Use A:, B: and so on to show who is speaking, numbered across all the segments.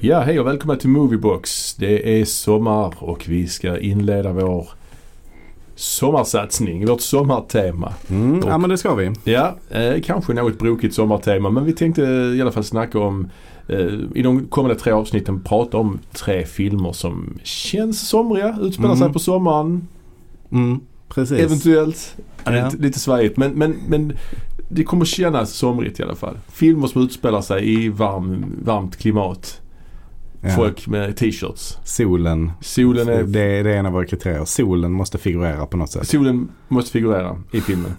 A: Ja, hej och välkomna till Moviebox. Det är sommar och vi ska inleda vår sommarsatsning, vårt sommartema.
B: Mm, ja men det ska vi.
A: Ja, eh, kanske något brokigt sommartema men vi tänkte i alla fall snacka om eh, i de kommande tre avsnitten prata om tre filmer som känns somriga, utspelar
B: Mm.
A: sig på sommaren.
B: Mm, precis.
A: Eventuellt. Ja. det är
B: Ja.
A: Lite, lite svajigt men, men, men det kommer kännas somrigt i alla fall. Filmer som utspelar sig i varm, varmt klimat.
B: Ja.
A: Folk med t-shirts.
B: Solen.
A: Solen är
B: Det, är- det är en av våra kriterier. Solen måste figurera på något sätt.
A: Solen måste figurera i filmen.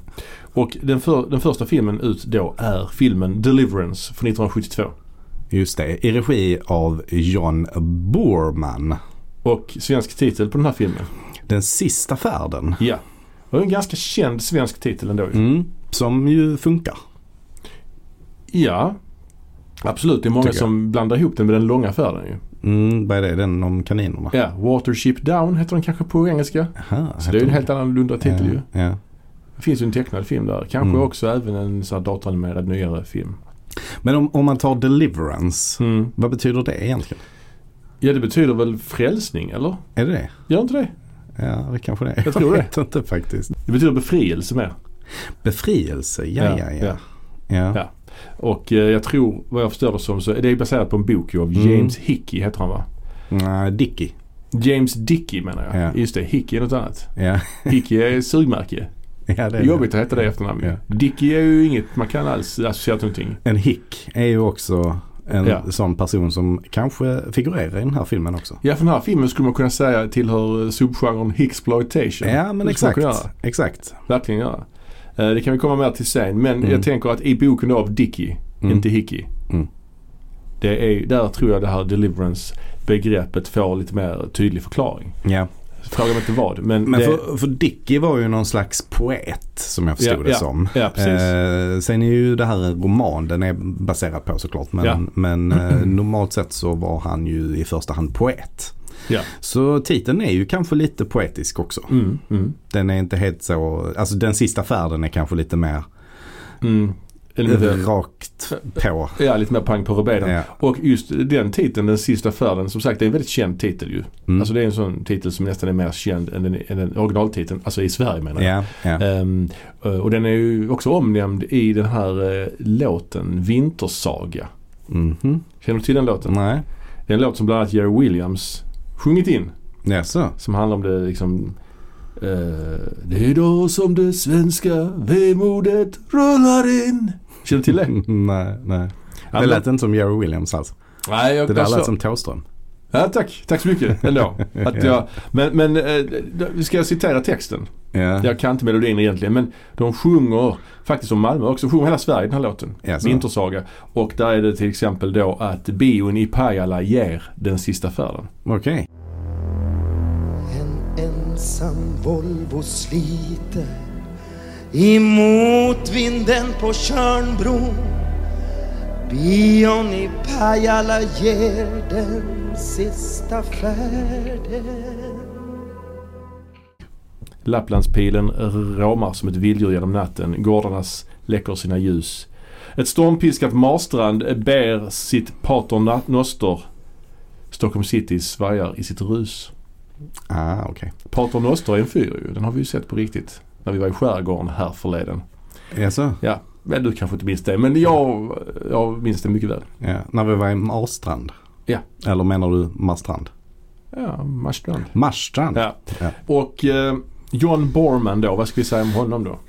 A: Och den, för, den första filmen ut då är filmen Deliverance från 1972.
B: Just det. I regi av John Boorman.
A: Och svensk titel på den här filmen.
B: Den sista färden.
A: Ja. Och en ganska känd svensk titel ändå ju.
B: Mm, som ju funkar.
A: Ja. Absolut, det är många
B: Tycker jag.
A: som blandar ihop den med den långa färden ju.
B: Mm, vad är det? Den om kaninerna?
A: Ja, Watership Down heter den kanske på engelska.
B: Aha,
A: Så det är ju en helt annorlunda titel ju.
B: ja, ja.
A: Det finns ju en tecknad film där. Kanske
B: Mm.
A: också även en sån här datoranimerad nyare film.
B: Men om, om man tar Deliverance.
A: Mm.
B: Vad betyder det egentligen?
A: Ja, det betyder väl frälsning eller?
B: Är det det?
A: Gör inte det?
B: Ja, det kanske det är.
A: Jag tror det.
B: vet inte faktiskt.
A: Det betyder befrielse mer.
B: Befrielse, ja, ja, ja. ja.
A: Ja. Och eh, jag tror, vad jag förstår det som, så är det baserat på en bok ju av
B: Mm.
A: James Hickey heter han va?
B: Nej, Dickie.
A: James Dickey menar jag.
B: Ja.
A: Just det, Hickey är något annat.
B: Ja.
A: Hickey är sugmärke.
B: ja,
A: Det
B: det
A: är
B: är
A: jobbigt att heta det i efternamn ju. Dickey är ju inget man kan alls associera till någonting.
B: En hick är ju också en
A: Ja.
B: sån person som kanske figurerar i den här filmen också.
A: Ja, för den här filmen skulle man kunna säga tillhör eh, subgenren Hicksploitation.
B: Ja men
A: Det skulle man
B: exakt.
A: kunna göra.
B: Exakt.
A: Verkligen göra. Eh, Det kan vi komma mer till sen. Men
B: Mm.
A: jag tänker att i boken då av Dickey,
B: Mm.
A: inte Hickey.
B: Mm.
A: Det är, där tror jag det här deliverance-begreppet får lite mer tydlig förklaring.
B: Ja.
A: Fråga mig inte vad. Men,
B: Men
A: det,
B: för, för Dickie var ju någon slags poet som jag förstod
A: Ja,
B: det
A: ja.
B: som.
A: ja, precis.
B: Eh, sen är ju det här en roman den är baserad på såklart. Men,
A: Ja.
B: men eh, normalt sett så var han ju i första hand poet.
A: Ja.
B: Så titeln är ju kanske lite poetisk också.
A: Mm, mm,
B: Den är inte helt så, alltså den sista färden är kanske lite mer
A: mm. Eller lite-
B: rakt på.
A: Ja, lite mer pang på rubeden.
B: Ja.
A: Och just den titeln, Den sista färden, som sagt det är en väldigt känd titel ju.
B: Mm.
A: Alltså det är en sån titel som nästan är mer känd än den, än den originaltiteln. Alltså i Sverige menar jag.
B: Ja, ja.
A: Ehm, och den är ju också omnämnd i den här eh, låten Vintersaga.
B: Mhm.
A: Känner du till den låten?
B: Nej.
A: Det är en låt som bland annat Jerry Williams sjungit in.
B: Jaså?
A: Som handlar om det liksom eh, Det är då som det svenska vemodet rullar in. Känner du till det?
B: nej, nej.
A: Ja,
B: Det
A: men- Alltså-
B: lät inte som Jerry Williams alls.
A: Nej, jag,
B: Det där
A: jag
B: lät
A: slår-
B: som Thåström.
A: ja, tack, tack så mycket ändå. Att jag, men men eh, då- ska jag citera texten?
B: Ja.
A: Jag kan inte melodin egentligen men de sjunger faktiskt om Malmö också. De sjunger hela Sverige i den här låten.
B: Jaså.
A: Vintersaga. Och där är det till exempel då att bion i Pajala ger den sista färden.
B: Okej.
C: En ensam Volvo sliter i motvinden på Tjörnbron. Bion i Pajala ger den sista färden.
A: Lapplandspilen råmar som ett vilddjur genom natten. Gårdarnas läcker sina ljus. Ett stormpiskat marstrand bär sitt pater na- noster. Stockholm city svajar i sitt rus.
B: Ah, okej.
A: Pater noster är en fyr ju. Den har vi ju sett på riktigt. När vi var i skärgården här förleden.
B: Jaså?
A: Ja, men du kanske inte minns det. Men jag, jag minns det mycket väl.
B: Ja. När vi var i Marstrand?
A: Ja.
B: Eller menar du Marstrand?
A: Ja, marstrand.
B: Marstrand?
A: Ja.
B: Ja.
A: Och eh, John Borman då. Vad ska vi säga om honom då?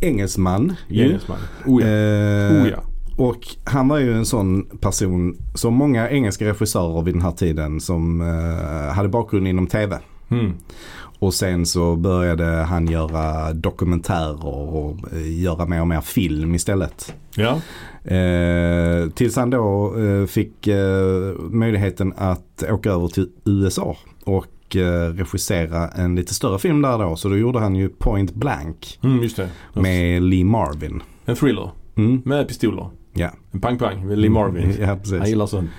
B: Engelsman ju.
A: Engelsman. Oh ja.
B: Eh,
A: Oh ja.
B: Och han var ju en sån person som många engelska regissörer vid den här tiden som eh, hade bakgrund inom TV.
A: Mm.
B: Och sen så började han göra dokumentärer och eh, göra mer och mer film istället.
A: Ja.
B: Eh, tills han då eh, fick eh, möjligheten att åka över till USA och eh, regissera en lite större film där då. Så då gjorde han ju Point Blank
A: Mm, just det.
B: med Lee Marvin.
A: En thriller.
B: Mm,
A: Med pistoler.
B: ja. Mm,
A: En pang-pang med Lee Marvin.
B: Ja,
A: Han
B: precis.
A: gillar sånt.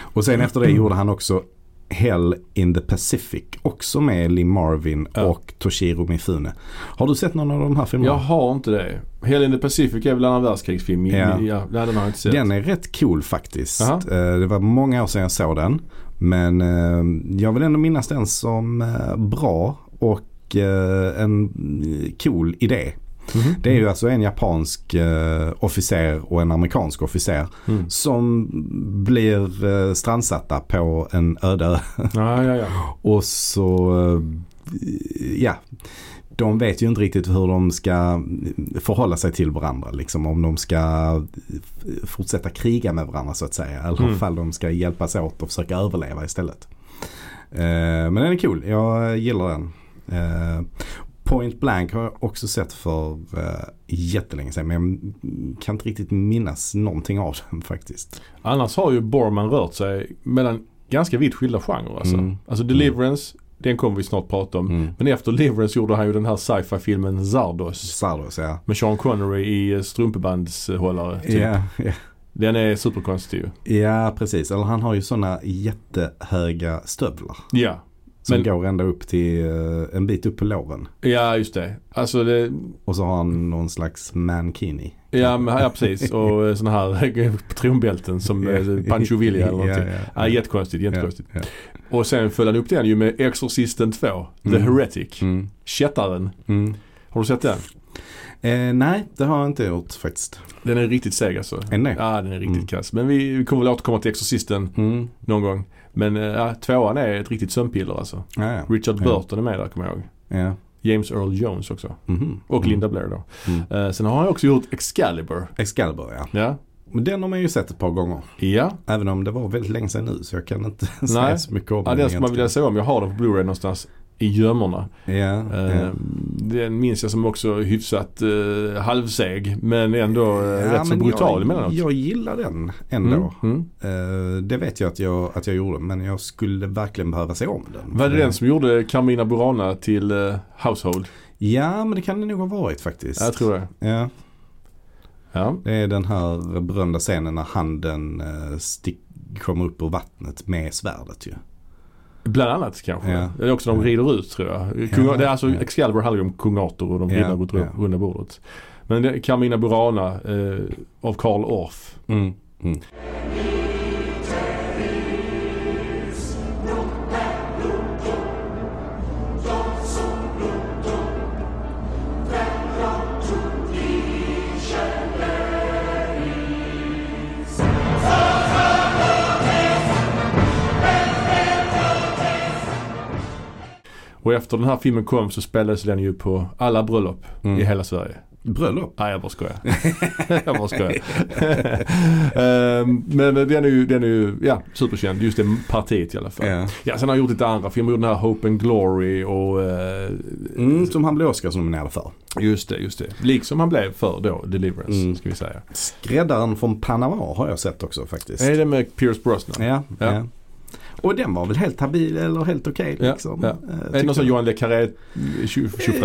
B: Och sen efter det gjorde han också Hell in the Pacific. Också med Lee Marvin
A: Ja.
B: och Toshiro Mifune. Har du sett någon av de här filmerna?
A: Jag har inte det. Hell in the Pacific är väl en annan världskrigsfilm?
B: Ja.
A: Ja. ja. Nej, den har jag inte sett.
B: Den är rätt cool faktiskt.
A: Jaha.
B: Eh, Det var många år sedan jag såg den. Men eh, jag vill ändå minnas den som eh, bra och eh, en cool idé.
A: Mhm.
B: Det är ju alltså en japansk eh, officer och en amerikansk officer
A: Mm.
B: som blir eh, strandsatta på en öde ö.
A: Ja, ja, ja.
B: Och så, eh, ja. De vet ju inte riktigt hur de ska förhålla sig till varandra. Liksom, om de ska f- fortsätta kriga med varandra så att säga. Eller
A: Mm.
B: ifall de ska hjälpas åt och försöka överleva istället. Eh, men den är cool. Jag gillar den. Eh, Point Blank har jag också sett för eh, jättelänge sedan. Men jag kan inte riktigt minnas någonting av den faktiskt.
A: Annars har ju Borman rört sig mellan ganska vitt skilda genrer. Alltså,
B: Mm.
A: alltså Deliverance, den kommer vi snart prata om.
B: Mm.
A: Men efter Deliverance gjorde han ju den här sci-fi filmen Zardos.
B: Sardos ja.
A: Med Sean Connery i eh, strumpebandshållare. Typ.
B: Ja, ja.
A: Den är superkonstig ju.
B: Ja, precis. Eller han har ju sådana jättehöga stövlar.
A: Ja.
B: Som
A: Men-
B: går ända upp till eh, en bit upp på låren.
A: ja, just det. Alltså det,
B: Och så har han någon slags mankini.
A: ja, men, ja precis. Och eh, såna här trumbälten som eh, Pancho Villa eller någonting.
B: Ja, ja.
A: Ja, jättekonstigt, jättekonstigt.
B: Ja,
A: Och sen följde han upp den ju med Exorcisten 2, The
B: Mm.
A: Heretic.
B: ja. Mm,
A: Kättaren.
B: mm.
A: Har du sett den?
B: Eh, nej, det har jag inte gjort faktiskt.
A: Den är riktigt seg alltså.
B: Än det?
A: Ja, den är riktigt
B: Mm.
A: kass. Men vi, vi kommer väl återkomma till Exorcisten
B: Mm.
A: någon gång. Men eh, ja, tvåan är ett riktigt sömnpiller alltså.
B: Ja, ja.
A: Richard
B: Ja.
A: Burton är med där kommer jag ihåg.
B: ja.
A: James Earl Jones också.
B: Mhm.
A: Och Linda Blair då.
B: Mm.
A: Eh, sen har han också gjort Excalibur.
B: Excalibur ja.
A: Ja.
B: Men den har man ju sett ett par gånger.
A: Ja,
B: Även om det var väldigt länge sedan nu så jag kan inte säga
A: Nej.
B: så mycket om
A: ja den skulle man vilja se om. Jag har den på Blu-ray någonstans i gömmorna.
B: Ja,
A: Eh,
B: ja.
A: Den minns jag som också hyfsat eh, halvseg men ändå eh, rätt så
B: men
A: brutal
B: jag,
A: emellanåt.
B: Jag gillar den ändå.
A: Mm, mm.
B: Eh, det vet jag att, jag att jag gjorde men jag skulle verkligen behöva se om den.
A: Var det den som gjorde Carmina Burana till eh, Household?
B: Ja men det kan det nog ha varit faktiskt.
A: Ja, jag tror det.
B: Ja,
A: Ja.
B: det är den här berömda scenen när handen eh, stick, kommer upp ur vattnet med svärdet ju.
A: Bland annat kanske.
B: Ja.
A: Det är också de
B: Ja.
A: rider ut tror jag. Kung,
B: Ja.
A: Det är alltså
B: Ja.
A: Excalibur handlar ju om kung Arthur och de
B: Ja,
A: rider runt
B: ja.
A: runda bordet. Men det, Carmina Burana eh, av Karl Orff.
B: Mm.
A: Och efter den här filmen kom så spelades den ju på alla bröllop
B: Mm.
A: i hela Sverige.
B: Bröllop?
A: Nej, jag bara skojar. jag bara skojar. Ehm, men den är ju, den är ju ja, superkänd. Just det partiet i alla fall.
B: Ja.
A: Ja, sen har han gjort lite andra filmer. Gjort den här Hope and Glory och eh,
B: Mm, som han blev Oscarsnominerad för.
A: just det, just det. Liksom han blev för då, Deliverance,
B: Mm.
A: ska vi säga.
B: Skräddaren från Panama har jag sett också faktiskt.
A: Är det med Pierce Brosnan?
B: Ja, ja.
A: Ja.
B: Och den var väl helt habil eller helt okej
A: Ja,
B: liksom.
A: ja.
B: Eh,
A: Är det
B: tyckte
A: någon sån
B: jag.
A: Johan Le Carré-tjofräs?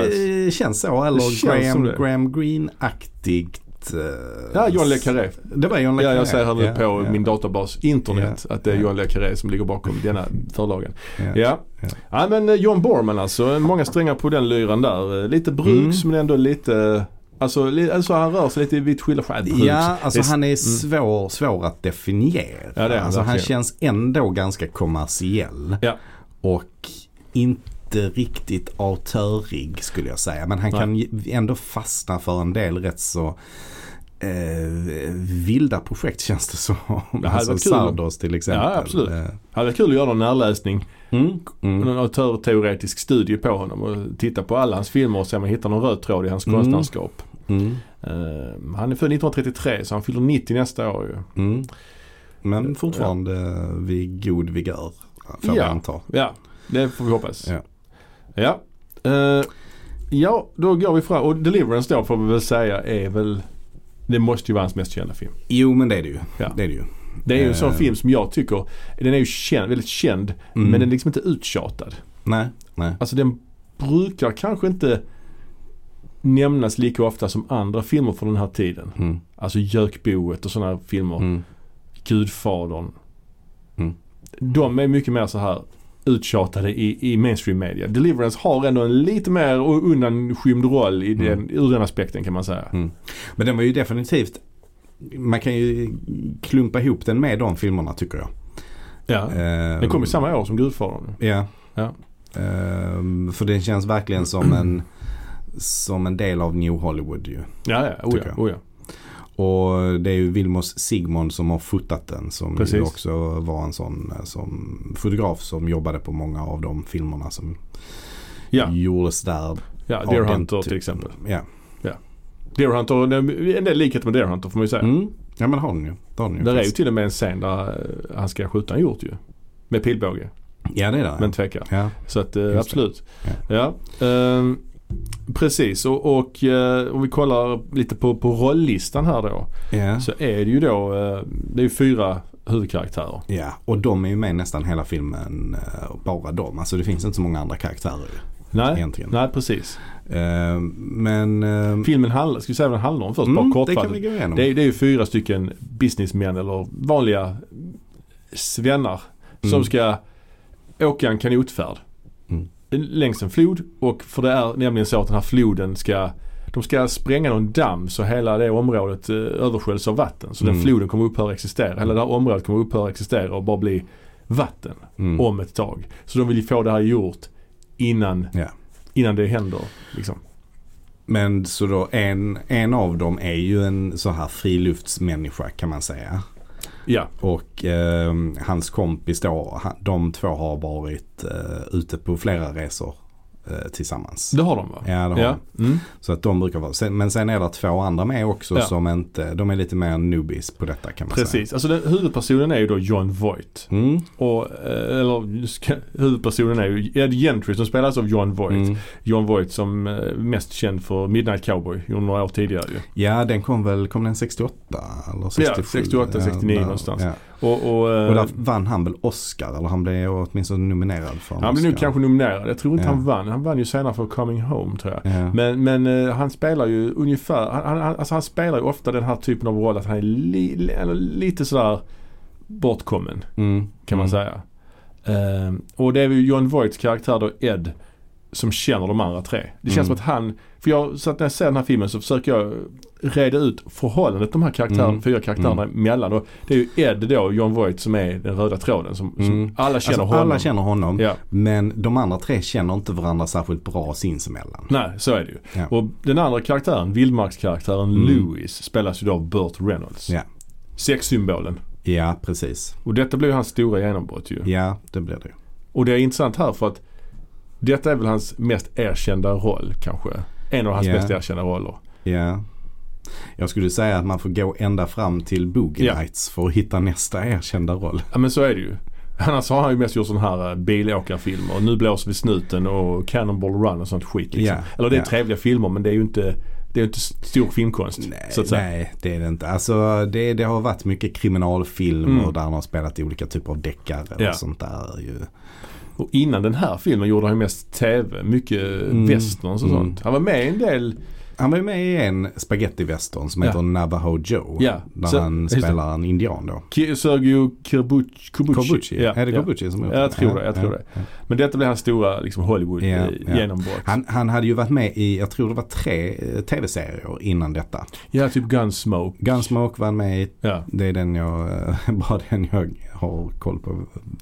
B: Eh, Känns så.
A: Det
B: Eller
A: känns
B: Graham,
A: som det.
B: Graham Green-aktigt. eh,
A: Ja, Johan Le Carré.
B: Det var John Le
A: Ja,
B: Carré.
A: jag ser här nu
B: Ja,
A: på
B: ja,
A: min databas, internet, att det är
B: ja.
A: Johan Le Carré som ligger bakom denna förlagen.
B: ja.
A: Ja.
B: Ja.
A: Ja. men eh, John Borman alltså. Många strängar på den lyran där. Eh, Lite bruks
B: Mm.
A: men ändå lite... Alltså, li, alltså han rör sig lite i vitt skilda skär. Bruks.
B: Ja, alltså
A: Det är- mm.
B: han är svår, svår att definiera.
A: Ja, det är han
B: alltså, han
A: verkligen.
B: känns ändå ganska kommersiell.
A: Ja.
B: Och inte riktigt autörig skulle jag säga. Men han
A: Nej.
B: kan ju ändå fastna för en del rätt så eh, vilda projekt känns det som.
A: hade
B: alltså
A: varit kul.
B: Sardos till exempel.
A: Ja, absolut.
B: Eh,
A: Hade varit kul att göra någon närläsning,
B: Mm. Mm.
A: någon auteurteoretisk studie på honom och titta på alla hans filmer och se om man hittar någon röd tråd i hans
B: Mm.
A: konstnärskap.
B: Mm.
A: Eh, han är född 1933 så han fyller 90 nästa år ju.
B: Mm. Men fortfarande vid god vigör. Får man
A: Eh, Ja.
B: anta.
A: Ja, det får vi hoppas.
B: Ja.
A: Ja, Eh, ja då går vi fram. Och Deliverance då får vi väl säga är väl, det måste ju vara hans mest kända film.
B: Jo men det är det ju.
A: Ja.
B: Det är det ju.
A: Det är ju en sån
B: Eh.
A: film som jag tycker, den är ju känd, väldigt känd
B: Mm.
A: men den är liksom inte uttjatad.
B: Nej, nej.
A: Alltså den brukar kanske inte nämnas lika ofta som andra filmer från den här tiden.
B: Mm.
A: Alltså Jökboet och sådana filmer.
B: Mm.
A: Gudfadern.
B: Mm.
A: De är mycket mer så här uttjatade i, i mainstream media. Deliverance har ändå en lite mer undanskymd roll i den,
B: Mm.
A: ur den aspekten kan man säga.
B: Men den var ju definitivt, man kan ju klumpa ihop den med de filmerna tycker jag.
A: Ja.
B: Ehm,
A: Den kom ju samma år som Gudfadern.
B: Ja.
A: Ja.
B: Ehm, för den känns verkligen som en, som en del av New Hollywood ju.
A: Ja, ja. Oh,
B: Tycker
A: ja,
B: jag.
A: oh, ja.
B: Och det är ju Vilmos Sigmund som har fotat den som ju
A: Precis.
B: också var en sån eh, som fotograf som jobbade på många av de filmerna som
A: Ja,
B: gjordes där.
A: ja
B: Ja,
A: Deer
B: den
A: Hunter
B: typen.
A: till exempel.
B: Ja.
A: Deer Hunter, det är en del likhet med Deer Hunter får man ju säga.
B: Mm. ja men har den ju. Det Har den ju
A: Där är ju
B: faktiskt.
A: till och med en scen där eh, han ska skjuta en hjort ju. Med pilbåge,
B: Ja det är där.
A: men tvekar.
B: ja.
A: Så att eh,
B: det.
A: absolut. Ja. ehm, precis och, och eh, om vi kollar lite på, på rollistan här då.
B: Ja.
A: Så är det ju då, eh, det är ju fyra huvudkaraktärer.
B: ja. Och de är ju med nästan hela filmen. eh, Bara de. Alltså det finns inte så många andra karaktärer ju.
A: Nej,
B: Egentligen.
A: nej precis.
B: Ehm, men... ehm,
A: Filmen handlar, ska vi säga vad den handlar om först?
B: mm,
A: bara
B: det kan
A: kortfattat.
B: vi gå igenom.
A: Det är, det är ju fyra stycken businessmän eller vanliga svennar som
B: Mm.
A: ska åka en kanotfärd
B: Mm.
A: längs en flod. Och för det är nämligen så att den här floden ska de ska spränga någon damm så hela det området eh, översköljs av vatten. Så den
B: Mm.
A: floden kommer upphöra existera. Hela det här området kommer upphöra existera och bara bli vatten
B: Mm.
A: om ett tag. Så de vill ju få det här gjort innan,
B: Ja.
A: innan det händer. Liksom.
B: Men så då en, en av dem är ju en så här friluftsmänniska kan man säga.
A: Ja,
B: Och ehm, hans kompis då, han, de två har varit eh, ute på flera resor eh, tillsammans.
A: det har de va?
B: Ja, det har
A: Ja. Mm.
B: Så att de brukar vara, sen, men sen är det två andra med också
A: Ja.
B: som inte, de är lite mer newbies på detta kan man säga.
A: Precis, alltså den, huvudpersonen är ju då John Voight.
B: Mm.
A: Och, eh, eller ska, huvudpersonen är ju Ed Gentry som spelas av John Voight.
B: Mm.
A: John Voight som eh, mest känd för Midnight Cowboy, gjorde några år tidigare ju.
B: Ja, den kom väl, kom den 68 eller 67?
A: 68, 69
B: där,
A: någonstans.
B: Ja.
A: Och, och, eh,
B: Och där vann han väl Oscar, eller han blev åtminstone nominerad för en
A: han blev
B: Oscar.
A: nog kanske nominerad. Jag tror inte
B: Ja.
A: han vann. Han vann ju senare för Coming Home tror jag.
B: Ja.
A: Men, men eh, han spelar ju ungefär, han, han, han- alltså han spelar ju ofta den här typen av roll att han är li, li, eller lite sådär bortkommen.
B: Mm.
A: kan man
B: Mm.
A: säga. Ehm, och det är ju John Voights karaktär då Ed som känner de andra tre. Det känns
B: Mm.
A: som att han, för jag, så att när jag ser den här filmen så försöker jag reda ut förhållandet de här karaktärerna,
B: Mm.
A: fyra karaktärerna emellan. Och det är ju Ed då, John Voight som är den röda tråden som, som
B: Mm.
A: alla känner
B: alltså,
A: honom.
B: Alla känner honom.
A: Ja.
B: Men de andra tre känner inte varandra särskilt bra sinsemellan.
A: Nej, så är det ju.
B: Ja.
A: Och den andra karaktären, vildmarkskaraktären
B: Mm.
A: Louis, spelas ju då av Burt Reynolds.
B: Ja.
A: Sexsymbolen.
B: Ja, precis.
A: Och detta blev ju hans stora genombrott ju.
B: Ja, det blir det ju.
A: Och det är intressant här för att detta är väl hans mest erkända roll kanske. En av hans
B: Ja.
A: mest erkända roller.
B: Ja. Jag skulle säga att man får gå ända fram till Boogie
A: Ja.
B: Nights för att hitta nästa erkända roll.
A: Ja men så är det ju. Annars har han ju mest gjort sådana här eh, bilåkarfilmer. Nu blåser vi snuten och Cannonball Run och sånt skit. Liksom.
B: Ja,
A: Eller det är
B: ja.
A: trevliga filmer men det är ju inte, det är ju inte stor filmkonst.
B: Nej,
A: så att säga.
B: nej det är det inte. Alltså, det, det har varit mycket kriminalfilmer
A: Mm.
B: där han har spelat i olika typer av deckare
A: Ja.
B: och sånt där. Ju.
A: Och innan den här filmen gjorde han ju mest TV. Mycket
B: Mm.
A: westerns och
B: Mm.
A: sånt. Han var med i en del.
B: Han var ju med i en spagettivästern som
A: Ja.
B: heter Navajo Joe.
A: Ja,
B: Där
A: så-
B: han
A: just det.
B: spelar en indian då.
A: Ki- Sergio Corbucci.
B: Kobuchi. Är det Kobuchi som har gjort
A: Ja, jag
B: den?
A: tror det, jag tror det.
B: ja.
A: Men detta blev hans stora liksom,
B: Ja, ja.
A: Hollywood-genombrott.
B: Han, han hade ju varit med i, jag tror det var tre eh, tv-serier innan detta.
A: Ja, typ Gunsmoke.
B: Gunsmoke var han med i,
A: Ja.
B: det är den jag, eh, bara den jag har koll på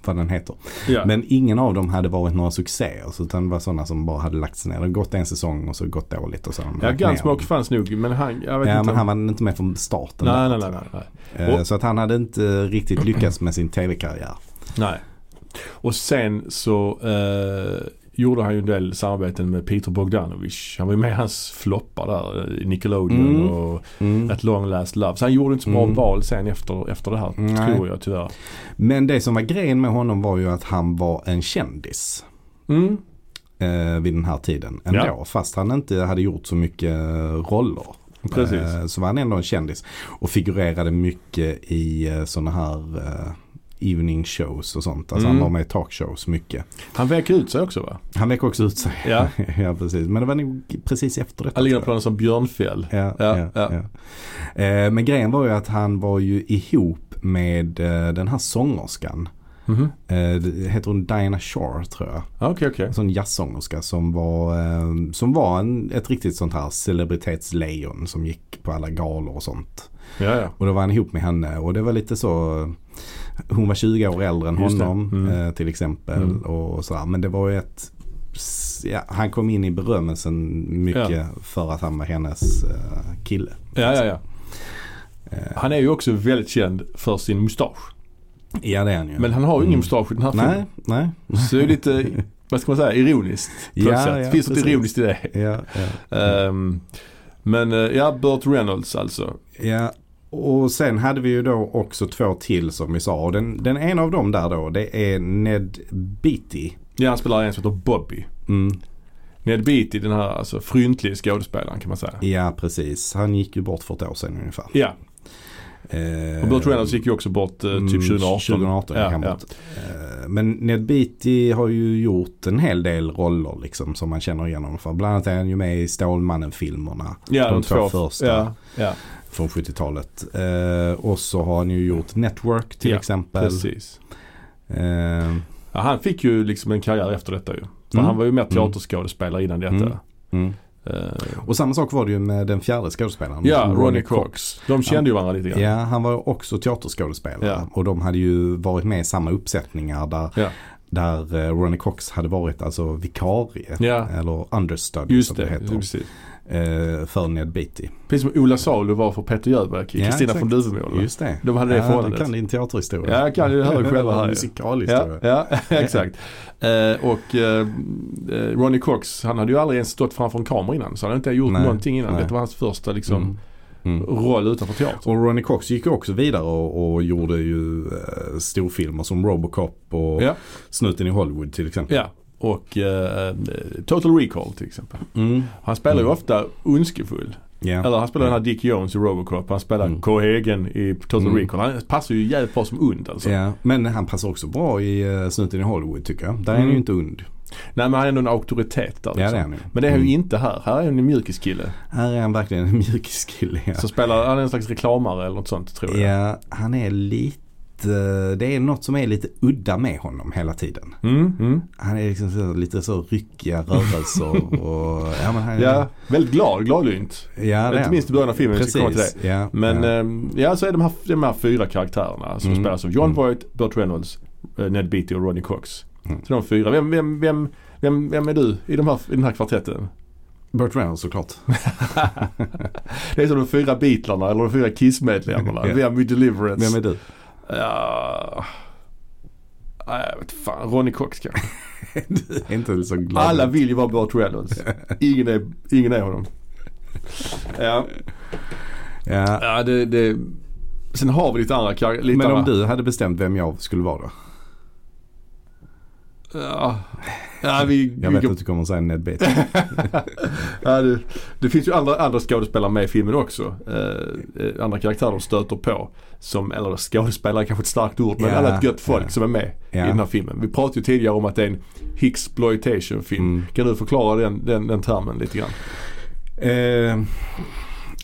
B: vad den heter.
A: ja.
B: Men ingen av dem hade varit några succéer så utan det var sådana som bara hade lagts ner. Det hade gått en säsong och så gått dåligt och så har de
A: ja,
B: lagt ner
A: Gunsmoke
B: dem.
A: fanns nog men han, jag vet
B: Ja
A: inte
B: men
A: om-
B: han var inte med från starten.
A: Nej,
B: där.
A: nej, nej, nej, nej.
B: Eh,
A: Och-
B: Så att han hade inte riktigt lyckats med sin tv-karriär.
A: nej. Och sen så eh, gjorde han ju en del samarbeten med Peter Bogdanovich. Han var ju med i hans floppar där, eh, Nickelodeon
B: Mm.
A: och
B: Mm.
A: At Long Last Love. Så han gjorde inte så bra
B: Mm.
A: val sen efter, efter det här,
B: Nej.
A: tror jag tyvärr.
B: Men det som var grejen med honom var ju att han var en kändis.
A: Mm.
B: eh, vid den här tiden ändå.
A: Ja.
B: Fast han inte hade gjort så mycket eh, roller.
A: Precis.
B: Eh, så var han ändå en kändis. Och figurerade mycket i eh, sådana här eh, evening shows och sånt. Alltså
A: Mm.
B: han var med i talkshows mycket.
A: Han vek ut sig också va?
B: Han vek också ut sig.
A: Ja.
B: ja precis. Men det var nog precis efter detta.
A: Han ligger på
B: tror jag.
A: någon som björnfäll.
B: Ja,
A: Ja,
B: ja,
A: ja.
B: ja. Eh, Men grejen var ju att han var ju ihop med eh, den här sångerskan.
A: Mhm.
B: Eh, det heter hon Diana Shore tror jag.
A: Ja, Ah, Okej, okej.
B: En sån jazzsångerska som var, eh, som var en, ett riktigt sånt här celebritetslejon som gick på alla galor och sånt.
A: Ja, ja.
B: Och då var han ihop med henne och det var lite så Hon var 20 år äldre än
A: Just det.
B: honom
A: Mm.
B: eh, till exempel.
A: Mm.
B: Och sådär. Men det var ju ett s- ja, Han kom in i berömmelsen mycket för att han var hennes eh, kille.
A: ja, ja, ja.
B: Eh,
A: Han är ju också väldigt känd för sin mustasch.
B: ja det är han ju.
A: Men han har ju ingen
B: Mm.
A: mustasch i den här
B: Nej,
A: filmen.
B: nej.
A: Så det är lite, vad ska man säga, ironiskt. På ja,
B: Ja,
A: sätt.
B: ja,
A: Finns det
B: precis.
A: ironiskt i det?
B: Ja, ja.
A: Ehm, men eh, ja, Burt Reynolds alltså.
B: Ja, och sen hade vi ju då också två till som vi sa. Och den, den ena av dem där då, det är Ned Beatty.
A: Ja, han spelar en som heter Bobby.
B: Mm.
A: Ned Beatty, den här alltså fryntlige skådespelaren kan man säga.
B: Ja, precis. Han gick ju bort för ett år sedan ungefär.
A: Ja,
B: Eh,
A: och Burt Reynolds gick ju också bort eh,
B: mm,
A: typ 2018.
B: 2018 gick
A: ja,
B: han
A: ja.
B: bort. Eh, Men Ned Beatty har ju gjort en hel del roller liksom som man känner igen honom för. Bland annat är han ju med i Stålmannen-filmerna
A: Ja,
B: De två första.
A: Ja, ja
B: från 70-talet. Eh, Och så har han ju gjort Network till
A: Ja,
B: exempel.
A: precis.
B: Eh,
A: Ja, han fick ju liksom en karriär efter detta ju. För
B: Mm.
A: han var ju mer teaterskådespelare innan detta.
B: Mm. Mm.
A: Eh,
B: Och samma sak var det ju med den fjärde skådespelaren.
A: ja,
B: Ronnie
A: Ronnie, Cox. De kände ju varandra lite grann.
B: Ja, han var också teaterskådespelare.
A: Ja.
B: Och de hade ju varit med i samma uppsättningar där,
A: Ja.
B: där eh, Ronnie Cox hade varit alltså vikarie.
A: Ja.
B: Eller understudy
A: Just
B: som
A: det,
B: det heter.
A: precis.
B: Eh, för Ned Beatty.
A: Precis som Ola Salo var för Peter Jöback i
B: Ja,
A: Kristina
B: exakt.
A: från Duvemåla.
B: Just det.
A: De hade det
B: ja, du
A: förhållandet.
B: kan din teaterhistoria.
A: Ja, jag kan ju höra själva här ju.
B: Musikalhistoria.
A: Ja, ja exakt. Eh, och eh, eh, Ronnie Cox, han hade ju aldrig ens stått framför en kamera innan. Så han hade inte gjort
B: Nej,
A: någonting innan.
B: nej.
A: Detta var hans första liksom,
B: Mm. Mm.
A: roll utanför teatern.
B: Och Ronnie Cox gick ju också vidare och, och gjorde ju eh, storfilmer som Robocop och
A: Ja.
B: Snuten i Hollywood till exempel.
A: Ja, och eh, Total Recall till exempel.
B: Mm.
A: Han spelar ju
B: Mm.
A: ofta ondskefull.
B: Ja.
A: Eller han spelar den här Dick Jones i Robocop. Han spelar
B: Mm.
A: Cohagen i Total
B: Mm.
A: Recall. Han passar ju jävligt bra som ond alltså.
B: Ja, men han passar också bra i uh, Snuten i Hollywood tycker jag. Där är han
A: Mm.
B: ju inte ond.
A: Nej men han är ändå en auktoritet där
B: Ja,
A: liksom.
B: det är han ju.
A: Men det är han
B: Mm.
A: ju inte här. Här är han en mjukiskille.
B: Här är han verkligen en mjukiskille. Ja.
A: Så spelar han är en slags reklamare eller något sånt tror jag.
B: ja, han är lite, det är något som är lite udda med honom hela tiden.
A: Mm, mm.
B: Han är liksom så, lite så ryckiga rörelser och ja, men han,
A: Ja, väldigt glad, gladlynt.
B: ja, det är
A: Inte
B: han.
A: minst i början av filmen, vi ska komma till det.
B: Precis, ja.
A: Men eh,
B: ja.
A: ja. ja, så är de här, de här fyra karaktärerna som
B: Mm.
A: spelas av John
B: Mm.
A: Voight, Burt Reynolds, eh, Ned Beatty och Ronnie Cox.
B: Mm.
A: Så de fyra. Vem, vem, vem, vem, vem är du i, de här, i den här kvartetten?
B: Burt Reynolds såklart.
A: Det är som de fyra Beatlarna eller de fyra Kiss-medlemmarna.
B: Ja.
A: Vem i Deliverance?
B: Vem är du?
A: Ja, nej, jag vet fan. Ronnie Cox kanske.
B: du är inte så glad.
A: Alla vill ju vara Burt Reynolds. Ingen är, ingen är honom. Ja,
B: Ja.
A: ja det, det. Sen har vi lite andra kar- lite
B: Men om
A: andra-
B: du hade bestämt vem jag skulle vara då?
A: Ja, ja vi,
B: Jag
A: vi
B: vet
A: går
B: att du kommer säga Ned Beatty.
A: Ja, det, det finns ju andra, andra skådespelare med i filmen också. Eh, eh, andra karaktärer de stöter på. Som, eller skådespelare är kanske ett starkt ord men
B: Ja,
A: annat gött folk
B: ja.
A: som är med
B: Ja.
A: i den här filmen. Vi pratade ju tidigare om att det är en Hixploitation film.
B: Mm.
A: Kan du förklara den, den, den termen lite grann?
B: Eh,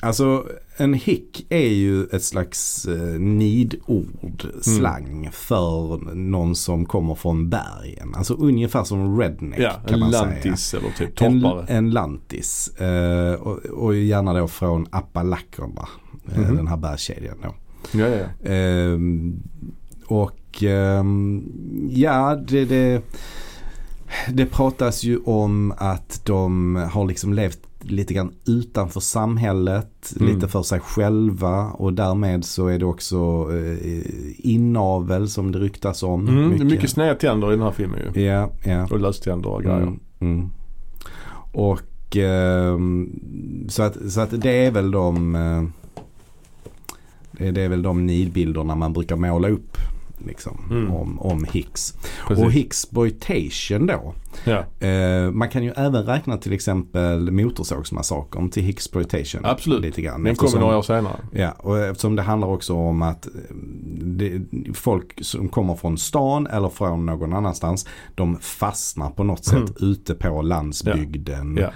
B: alltså en hick är ju ett slags eh, nidord,
A: Mm.
B: slang för någon som kommer från bergen. Alltså ungefär som redneck
A: Ja,
B: kan
A: en
B: man
A: lantis
B: säga.
A: eller typ
B: En,
A: torpare.
B: en lantis. Eh, och, och gärna då från Appalacherna. Eh,
A: Mhm.
B: den här bergskedjan då.
A: Ja, ja, Mm, ja.
B: Ehm, och ehm, ja, det, det, det pratas ju om att de har liksom levt lite grann utanför samhället,
A: Mm.
B: lite för sig själva och därmed så är det också eh, inavel som det ryktas om.
A: Mm, det är mycket sneda tänder i den här filmen ju.
B: Ja, ja.
A: Och löständer och grejer.
B: Mm, mm. Och ehm, så, att, så att det är väl de eh, det är- det är väl de nidbilderna man brukar måla upp liksom,
A: Mm.
B: om, om Hicks.
A: Precis.
B: Och Hicksboitation då.
A: Ja,
B: Eh, man kan ju även räkna till exempel Motorsågsmassakern till Hicksboitation.
A: Absolut.
B: Lite grann,
A: den kommer
B: eftersom-
A: några år senare.
B: Ja, och eftersom det handlar också om att eh, det, folk som kommer från stan eller från någon annanstans de fastnar på något sätt ute på landsbygden.
A: Mm. Ja.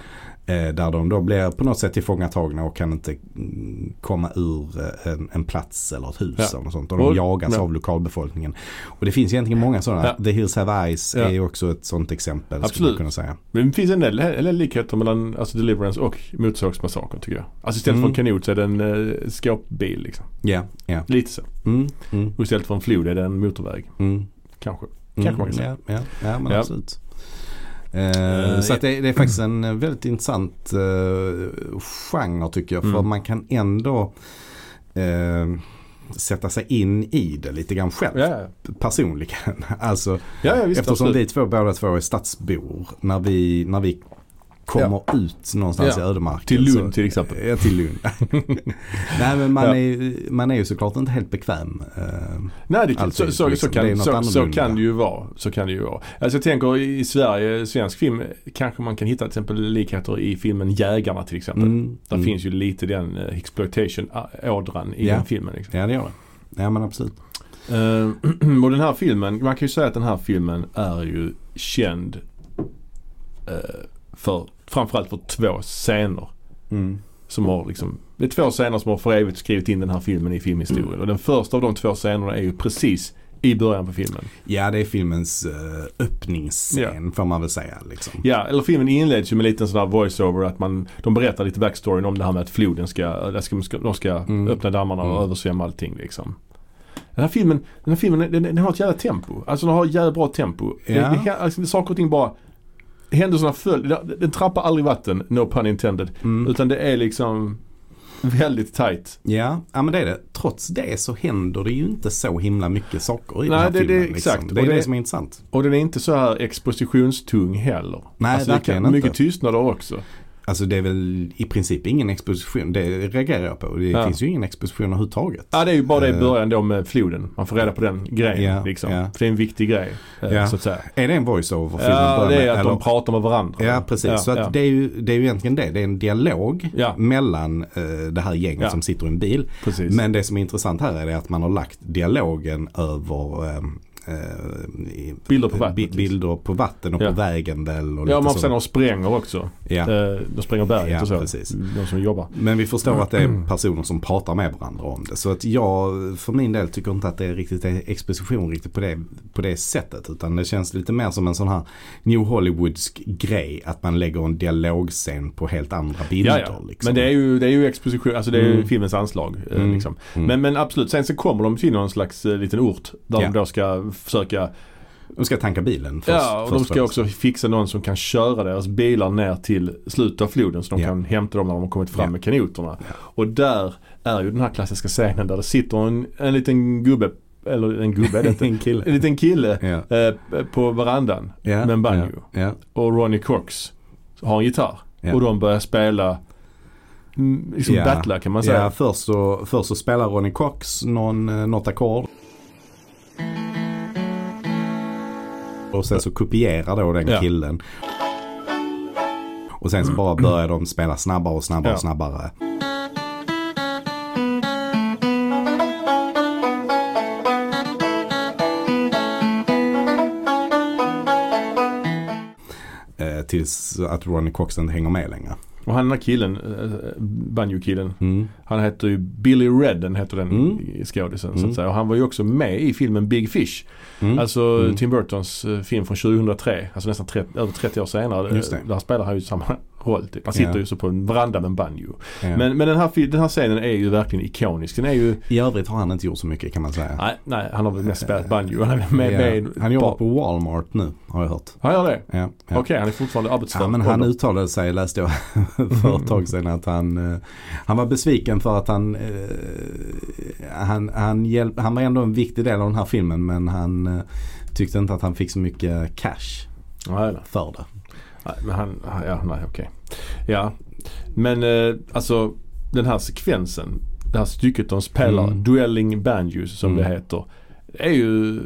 B: Eh, Där de då blir på något sätt tillfångatagna och kan inte mm, komma ur eh, en, en plats eller ett hus
A: Ja.
B: eller något sånt. Och de
A: Och-
B: jagas
A: ja.
B: av lokalbefolkningen. Och det finns egentligen många sådana.
A: Ja.
B: The Hills Have Eyes
A: Ja.
B: är ju också ett sådant exempel skulle man
A: Absolut.
B: kunna säga.
A: Men det finns en del, en del likheter mellan alltså Deliverance och Motorsågsmassakern tycker jag. Alltså istället
B: Mm.
A: för en kanot så är det en eh, skåpbil liksom.
B: Ja, ja.
A: Lite så.
B: Mm, mm,
A: Och istället för en flod är det en motorväg.
B: mm.
A: Kanske.
B: Mm,
A: Kanske man kan säga.
B: Ja, ja, ja men
A: Ja.
B: absolut. Eh,
A: Eh,
B: så att det, det är faktiskt en väldigt intressant eh, genre tycker jag. För
A: Mm.
B: man kan ändå eh, sätta sig in i det lite grann själv.
A: Ja, ja.
B: Personligen. Alltså,
A: ja, ja visst.
B: eftersom
A: absolut.
B: vi två båda två är stadsbor. När vi, när vi kommer ut någonstans
A: Ja.
B: i ödemarken.
A: Till
B: så-
A: Lund till exempel.
B: Ja, till Lund. Nej men man,
A: Ja.
B: är, man är ju såklart inte helt bekväm. Eh,
A: Nej, det,
B: Alltid,
A: så, så,
B: liksom.
A: så,
B: Det är
A: kan,
B: något
A: så, så
B: annorlunda.
A: kan det ju vara. Så kan det ju vara. Alltså jag tänker i i Sverige, svensk film, kanske man kan hitta till exempel likheter i filmen Jägarna till exempel.
B: mm,
A: Där
B: mm.
A: finns ju lite den eh, exploitation-ådran i
B: Ja.
A: den filmen. Liksom.
B: Ja det gör det. Ja men absolut.
A: Eh, och den här filmen, man kan ju säga att den här filmen är ju känd eh, för framförallt för två scener.
B: Mm.
A: Som har liksom, det är två scener som har för evigt skrivit in den här filmen i filmhistorien. Och den första av de två scenerna är ju precis i början på filmen.
B: Ja, det är filmens eh, öppningsscen får man väl säga. Liksom.
A: Ja, eller filmen inleds ju med en liten sån här voiceover att man, de berättar lite backstoryn om det här med att floden ska, där ska, ska- de ska
B: Mm.
A: öppna dammarna och
B: Mm.
A: översvämma allting liksom. Den här filmen, den här filmen den, den har ett jävla tempo. Alltså den har ett jävla bra tempo. Det-
B: Ja.
A: Det, alltså, det, saker och ting bara, händelserna följer, den, den trappar aldrig vatten, no pun intended.
B: Mm.
A: Utan det är liksom väldigt tight.
B: Ja, ja, men det är det. Trots det så händer det ju inte så himla mycket saker i den
A: Nej,
B: här
A: det- det är
B: filmen.
A: exakt.
B: Liksom. Det är
A: Och
B: det,
A: det-
B: som är intressant.
A: Och den är inte så här expositionstung heller.
B: Nej,
A: alltså, det
B: verkligen
A: kan,
B: inte.
A: Mycket tystnader också.
B: Alltså det är väl i princip ingen exposition. Det reagerar jag på. Det
A: Ja.
B: finns ju ingen exposition överhuvudtaget.
A: Ja det är ju bara det i
B: Eh.
A: början då med floden. Man får reda på den grejen
B: Ja,
A: liksom.
B: ja.
A: För det är en viktig grej. eh,
B: Ja.
A: Så att säga.
B: Är det en voiceover filmen
A: Ja
B: börjar
A: det
B: med,
A: är att
B: eller?
A: de pratar med varandra.
B: Ja precis, så att
A: ja.
B: Det, är ju, det är ju egentligen det. Det är en dialog
A: Ja.
B: mellan eh, det här gänget
A: Ja.
B: som sitter i en bil
A: Precis.
B: Men det som är intressant här är det att man har lagt dialogen över ehm, eh, i-
A: Bilder på vattnet,
B: bi-
A: liksom.
B: bilder på vatten och
A: Ja.
B: på vägen väl. Och
A: ja man får
B: lite
A: se
B: så.
A: de spränger också.
B: Ja.
A: Eh, De spränger berget
B: Ja,
A: och så.
B: precis.
A: De som jobbar.
B: Men vi förstår att det är personer som pratar med varandra om det. Så att jag för min del tycker inte att det är riktigt är exposition riktigt på det, på det sättet. Utan det känns lite mer som en sån här New Hollywoodsk grej. Att man lägger en dialogscen på helt andra bilder.
A: Ja, ja.
B: Liksom.
A: Men det är ju, det är ju exposition, alltså det är ju
B: Mm.
A: filmens anslag. eh,
B: Mm.
A: Liksom.
B: Mm.
A: Men, men absolut, sen så kommer de till någon slags eh, liten ort där
B: Ja.
A: de då ska försöka
B: De ska tanka bilen först.
A: Ja, och de
B: först,
A: ska
B: först.
A: också fixa någon som kan köra deras bilar ner till slutet av floden så de
B: Ja.
A: kan hämta dem när de har kommit fram
B: Ja.
A: med kanoterna. Och där är ju den här klassiska scenen där det sitter en, en liten gubbe, eller en gubbe är det inte,
B: en kille.
A: en liten kille
B: Ja.
A: eh, på verandan
B: Ja,
A: med en banjo.
B: Ja, ja.
A: Och Ronnie Cox har en gitarr.
B: Ja.
A: Och de börjar spela, mm, liksom
B: Ja.
A: battla kan man säga.
B: Ja, först så, först så spelar Ronny Cox någon, eh, något ackord. Och sen så kopierar då den
A: Ja.
B: killen. Och sen så bara börjar de spela snabbare och snabbare
A: Ja.
B: och snabbare. Eh, Tills att Ronny Cox inte hänger med längre.
A: Och han den här killen, eh, banjo-killen,
B: Mm.
A: Han heter ju Billy Redden heter den
B: Mm.
A: skådisen så
B: Mm.
A: att säga. Och han var ju också med i filmen Big Fish.
B: Mm.
A: Alltså
B: Mm.
A: Tim Burtons eh, film från 2003. Alltså nästan 30, över 30 år senare. eh,
B: Just det.
A: Där spelar han ju samma roll. Typ. Han sitter
B: Ja.
A: ju så på en veranda med en banjo.
B: Ja.
A: Men, men den, här, fi- den här scenen är ju verkligen ikonisk. Den är ju,
B: I övrigt har han inte gjort så mycket kan man säga.
A: nej, nej han har väl mest spelat banjo. Han är med,
B: Ja.
A: med i-
B: han jobbar på Walmart nu har jag hört.
A: Han gör det?
B: Ja, ja.
A: Okej, han är fortfarande arbetsför.
B: Ja, men han uttalade sig, läste jag för ett tag sedan, att han, eh, han var besviken för att han, eh, han, han, hjälp, han var ändå en viktig del av den här filmen men han eh, tyckte inte att han fick så mycket cash
A: Nej, nej.
B: för det.
A: Nej, men han, ja, nej okej. Ja, men eh, alltså den här sekvensen, det här stycket de spelar,
B: Mm.
A: Duelling Banjos som
B: Mm.
A: det heter. Det är ju,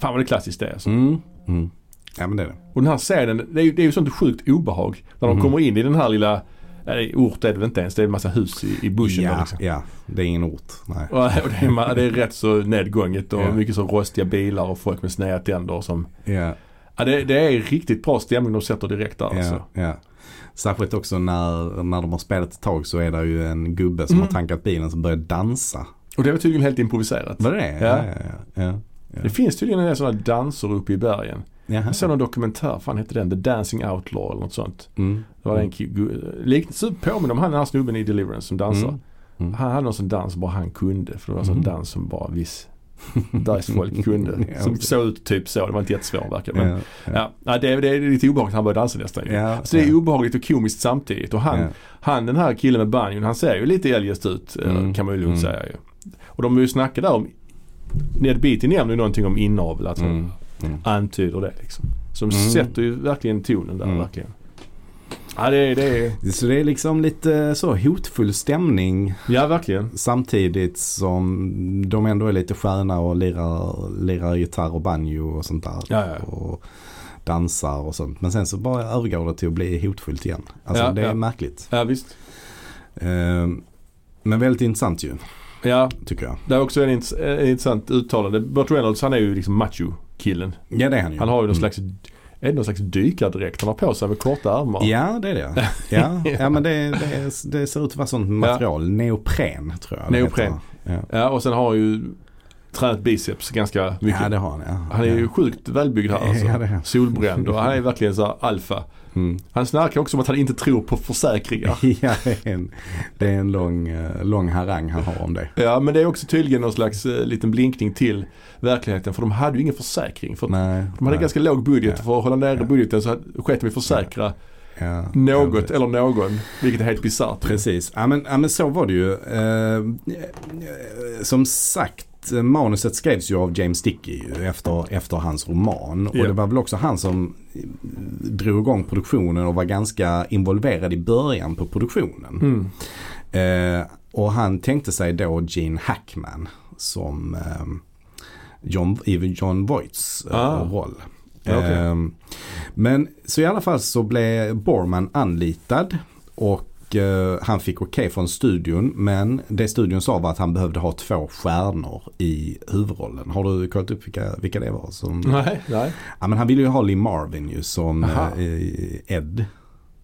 A: fan vad det klassiskt det är alltså.
B: Mm. Mm. Ja men det är det.
A: Och den här scenen, det är ju, det är ju sånt sjukt obehag. När de
B: Mm.
A: kommer in i den här lilla, nej ort är det väl inte ens, det är en massa hus i, i bushen där
B: ja,
A: liksom.
B: ja, det är ingen ort. Nej.
A: Och, eh, och det, är, ma- det är rätt så nedgånget och
B: Ja.
A: mycket så rostiga bilar och folk med sneda tänder som
B: Ja.
A: Ja, det, det är riktigt bra stämning de sätter direkt där alltså.
B: Ja, ja. Särskilt också när, när de har spelat ett tag så är det ju en gubbe som
A: Mm.
B: har tankat bilen som börjar dansa.
A: Och det var tydligen helt improviserat.
B: Var det det?
A: Ja.
B: ja, ja. ja.
A: Det finns tydligen en del sådana danser uppe i bergen.
B: Jaha.
A: Jag såg någon dokumentär, fan hette den? The Dancing Outlaw eller något sånt.
B: Mm.
A: Det var en ki- gu- liknande, så påminner om han den här snubben i Deliverance som dansar.
B: Mm. Mm.
A: Han hade någon sån dans bara han kunde. För det var en sån
B: Mm.
A: dans som bara viss dansfolk kunde.
B: Ja,
A: som
B: precis.
A: såg ut typ så. Det var inte jättesvår verkar men,
B: Ja, ja.
A: ja. ja, det, är- det är lite obehagligt när han börjar dansa nästan. ju.
B: Ja,
A: Så det är
B: ja.
A: obehagligt och komiskt samtidigt. Och han,
B: Ja.
A: han den här killen med banjon, han ser ju lite eljest ut eh,
B: Mm.
A: kan man ju lugnt
B: Mm.
A: säga ju. Och de har ju snackat där om, Ned Beatty nämner ju någonting om inavel. Att hon
B: Mm. Mm.
A: antyder det liksom. Så de
B: Mm.
A: sätter ju verkligen tonen där
B: Mm.
A: verkligen. Ja det är, det är,
B: Så det är liksom lite så hotfull stämning
A: ja verkligen.
B: samtidigt som de ändå är lite sköna och lirar, lirar gitarr och banjo och sånt där.
A: Ja, ja.
B: Och dansar och sånt. Men sen så bara övergår det till att bli hotfullt igen. Alltså
A: Ja,
B: det är
A: ja.
B: märkligt.
A: Ja visst.
B: Ehm, men väldigt intressant ju,
A: Ja,
B: tycker jag.
A: det är också en int- en intressant uttalande. Burt Reynolds han är ju liksom macho-killen.
B: Ja det är han ju.
A: Han har ju någon
B: Mm.
A: slags, är det någon slags dykardräkt han har på sig med korta ärmar?
B: Ja det är det. Ja, ja men det, det, är, det ser ut att vara sånt material. Neopren tror jag det
A: Neopren.
B: heter. Ja.
A: Ja, och sen har han ju tränat biceps ganska mycket.
B: ja det har han ja.
A: han är ju
B: Ja.
A: sjukt välbyggd här alltså.
B: Ja, det är han.
A: Solbränd och han är verkligen så här alfa.
B: Mm.
A: Han snarkar också om att han inte tror på försäkringar.
B: Ja, det är en, det är en lång, eh, lång harang han har om det.
A: Ja men det är också tydligen någon slags eh, liten blinkning till verkligheten för de hade ju ingen försäkring. För att
B: Nej,
A: de hade
B: nej.
A: ganska låg budget
B: Ja.
A: för att hålla nere
B: Ja.
A: budgeten så hade- sket de i att försäkra
B: ja, ja,
A: något
B: precis.
A: eller någon. Vilket är helt bisarrt.
B: Precis, ja men, ja, men så var det ju. Eh, eh, som sagt, eh, manuset skrevs ju av James Dickey ju, efter, efter hans roman.
A: Ja.
B: Och det var väl också han som eh, drog igång produktionen och var ganska involverad i början på produktionen.
A: Mm.
B: Eh, och han tänkte sig då Gene Hackman som eh, John, i John Voights eh,
A: Ah.
B: roll.
A: Ja, okej.
B: Eh, men så i alla fall så blev Borman anlitad och eh, han fick okej från studion men det studion sa var att han behövde ha två stjärnor i huvudrollen. Har du kollat upp vilka, vilka det var? Som,
A: Nej, nej.
B: ja, men han ville ju ha Lee Marvin ju som
A: Aha.
B: eh, Ed.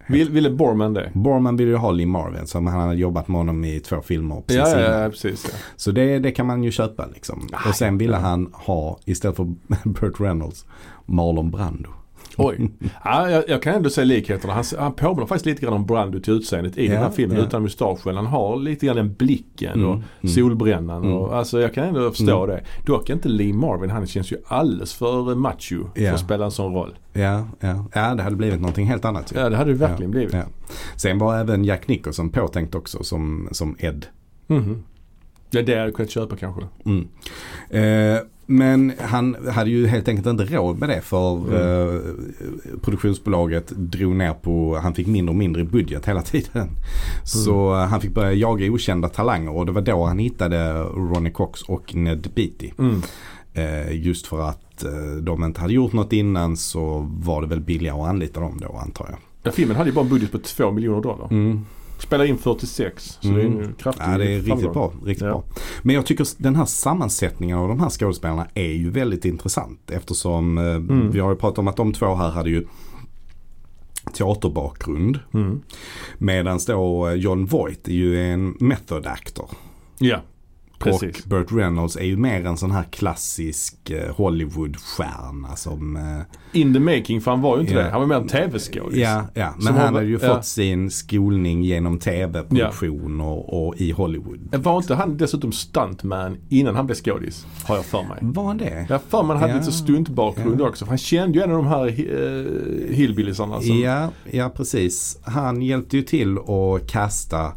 A: Vill, ville Borman det?
B: Borman ville ju ha Lee Marvin som han hade jobbat med honom i två filmer precis
A: Ja, Ah,
B: innan.
A: ja, ja, precis. Ja.
B: Så det, det kan man ju köpa liksom. och sen ville han ha, istället för Burt Reynolds, Marlon Brando.
A: Oj. Ja, jag, jag kan ändå se likheterna. Han, han påminner faktiskt lite grann om Brando till utseendet i
B: Ja,
A: den här filmen
B: ja.
A: utan mustaschen. Han har lite grann den blicken och
B: mm.
A: solbrännan. Och, alltså jag kan ändå förstå det. Dock inte Lee Marvin. Han känns ju alldeles för macho för
B: Ja.
A: att spela en sån roll.
B: Ja, ja. ja det hade blivit någonting helt annat. ju.
A: Ja, det hade det verkligen blivit.
B: Ja. Sen var även Jack Nicholson påtänkt också som, som Ed.
A: Mhm. Det är det jag hade kunnat köpa kanske.
B: Mm. Eh, men han hade ju helt enkelt inte råd med det för
A: Mm.
B: eh, produktionsbolaget drog ner på, han fick mindre och mindre budget hela tiden.
A: Mm.
B: Så eh, han fick börja jaga okända talanger och det var då han hittade Ronnie Cox och Ned Beatty.
A: Mm.
B: Eh, just för att eh, de inte hade gjort något innan så var det väl billigare att anlita dem då antar jag.
A: Ja, filmen hade ju bara en budget på 2 miljoner dollar. Spelade in 46. Så det är
B: Mm.
A: en kraftig
B: Ja, det är riktigt
A: framgång.
B: bra, riktigt
A: Ja.
B: bra. Men jag tycker s- den här sammansättningen av de här skådespelarna är ju väldigt intressant eftersom eh,
A: Mm.
B: vi har ju pratat om att de två här hade ju teaterbakgrund.
A: Mm.
B: Medan då eh, John Voight är ju en method actor.
A: Ja, precis.
B: Och Burt Reynolds är ju mer en sån här klassisk eh, Hollywoodstjärna som eh,
A: In the making, för han var ju inte
B: Ja.
A: det. Han var mer en tv-skådis.
B: Ja, ja. men
A: Som har-
B: han hade ju
A: ja.
B: fått sin skolning genom tv-produktion och, och i Hollywood.
A: Var inte han dessutom stuntman innan han blev skådis? Har jag för mig.
B: Var han det?
A: Jag har för mig han hade
B: Ja.
A: lite stuntbakgrund också. För han kände ju en av de här uh, hillbillisarna. som-
B: Ja, ja, precis. Han hjälpte ju till att kasta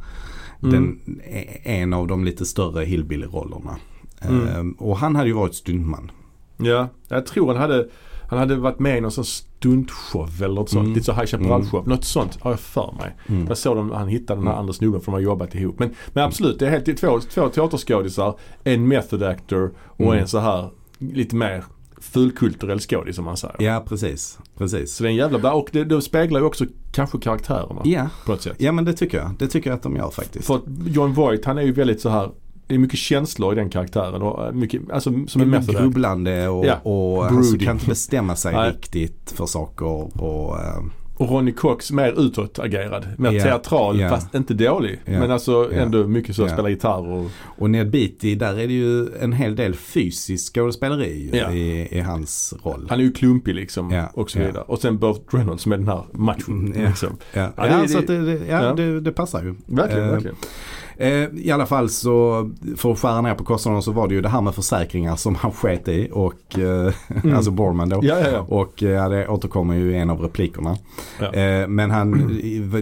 A: Mm.
B: den, e- en av de lite större hillbilly-rollerna.
A: Mm.
B: Ehm, och han hade ju varit stuntman.
A: ja. Jag tror han hade, han hade varit med i någon sån stuntshow eller något
B: Mm.
A: sånt. Lite så High Chaparral-show. Något sånt har jag för mig. Jag såg dem, han hittade
B: Mm.
A: den här andra snubben för de har jobbat ihop. Men, men absolut, det är helt två, två teaterskådisar. En method actor och
B: Mm.
A: en så här lite mer fulkulturell skådis som man säger.
B: Ja, precis. precis.
A: Så det är en jävla bra, och det, det speglar ju också kanske karaktärerna
B: Ja.
A: på något sätt.
B: ja, men det tycker jag. Det tycker jag att de gör faktiskt.
A: För att John Voight han är ju väldigt så här det är mycket känslor i den karaktären. Och mycket, alltså, som är
B: Som är
A: mest där.
B: grubblande och,
A: Ja.
B: och alltså,
A: Broody.
B: kan inte bestämma sig
A: Nej.
B: riktigt för saker. Och, eh,
A: Och Ronny Cox mer utåtagerad. Mer
B: Ja.
A: teatral
B: Ja.
A: fast inte dålig.
B: Ja.
A: Men alltså
B: Ja.
A: ändå mycket så,
B: Ja.
A: spelar gitarr och
B: och Ned Beatty, där är det ju en hel del fysiskt skådespeleri
A: Ja.
B: i, i hans roll.
A: han är ju klumpig liksom.
B: Ja.
A: Och så
B: Ja.
A: vidare. Och sen Burt Reynolds med den här matchen.
B: Mm, ja.
A: Liksom.
B: Ja,
A: Ja, det-
B: ja, så
A: det-
B: att det, det, ja,
A: ja.
B: det, det passar ju.
A: Verkligen,
B: Eh,
A: verkligen.
B: Eh, I alla fall så, för att skära ner på kostnaderna så var det ju det här med försäkringar som han sket i. Och, eh,
A: Mm.
B: Alltså Borman då.
A: Ja, ja, ja.
B: Och eh, ja, det återkommer ju i en av replikerna.
A: Ja.
B: Eh, Men han,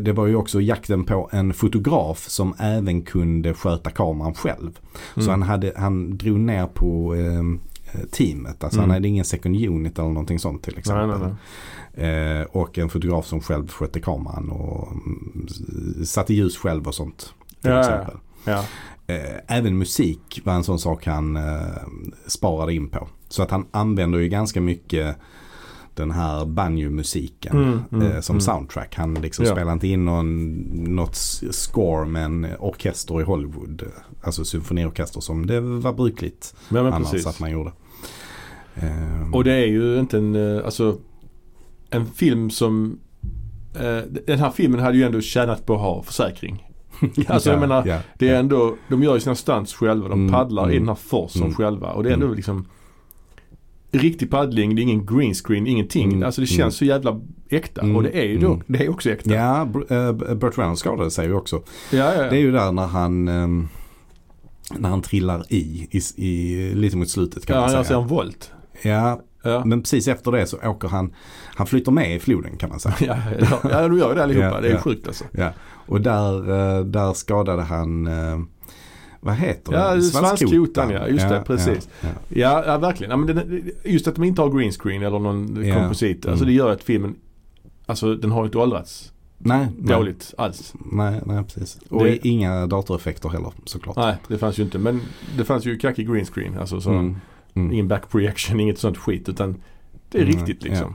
B: det var ju också jakten på en fotograf som även kunde sköta kameran själv. Så
A: Mm.
B: han, hade, han drog ner på eh, teamet. Alltså han
A: Mm.
B: hade ingen second unit eller någonting sånt till exempel.
A: Nej, nej, nej.
B: Eh, och en fotograf som själv skötte kameran och mm, satte ljus själv och sånt.
A: Ja,
B: Till
A: ja, ja.
B: exempel.
A: Ja.
B: Eh, även musik var en sån sak han eh, sparade in på. Så att han använder ju ganska mycket den här banjo-musiken
A: Mm, mm,
B: eh, som
A: mm.
B: soundtrack. Han liksom
A: Ja.
B: spelar inte in någon, något s- score med en orkester i Hollywood. Alltså symfoniorkester som det var brukligt
A: Men, men
B: annars
A: precis.
B: att man gjorde. Eh,
A: Och det är ju inte en, eh, alltså en film som eh, den här filmen hade ju ändå tjänat på att ha försäkring. alltså, jag menar,
B: ja,
A: Det
B: ja.
A: är ändå, de gör ju sina stunts själva. De
B: Mm,
A: paddlar i
B: mm,
A: den här forsen
B: mm,
A: själva. Och det är ändå
B: mm.
A: liksom riktig paddling, det är ingen green screen, ingenting.
B: Mm,
A: Alltså det känns
B: mm.
A: så jävla äkta.
B: Mm,
A: Och det är ju då,
B: mm.
A: det är också äkta.
B: Ja, Br- eh, Burt Reynolds skadade sig ju också.
A: ja, ja.
B: Det är ju där när han, ehm, när han trillar i, i, i lite mot slutet kan
A: ja, alltså,
B: man
A: han
B: säga. Mm.
A: gör sig en volt.
B: Ja,
A: Ja.
B: men precis efter det så åker han, han flyter med i floden kan man säga.
A: Ja, ja, ja, de gör ju det allihopa.
B: Ja,
A: det är
B: ja.
A: sjukt alltså.
B: Ja. Och där, eh, där skadade han, eh, vad heter
A: Ja,
B: den?
A: svanskotan, ja. Just det, precis.
B: Ja,
A: Ja, ja verkligen. Ja, men den, just att de inte har green screen eller någon
B: Ja.
A: komposit. Alltså
B: Mm.
A: det gör att filmen, alltså den har ju inte åldrats
B: Nej, nej.
A: dåligt alls.
B: Nej, nej, precis. Och
A: Det-
B: inga datoreffekter heller såklart.
A: Nej, det fanns ju inte. Men det fanns ju kackig green screen. Alltså så
B: Mm. Mm.
A: ingen back projection, inget sånt skit. Utan det är
B: Mm,
A: riktigt liksom.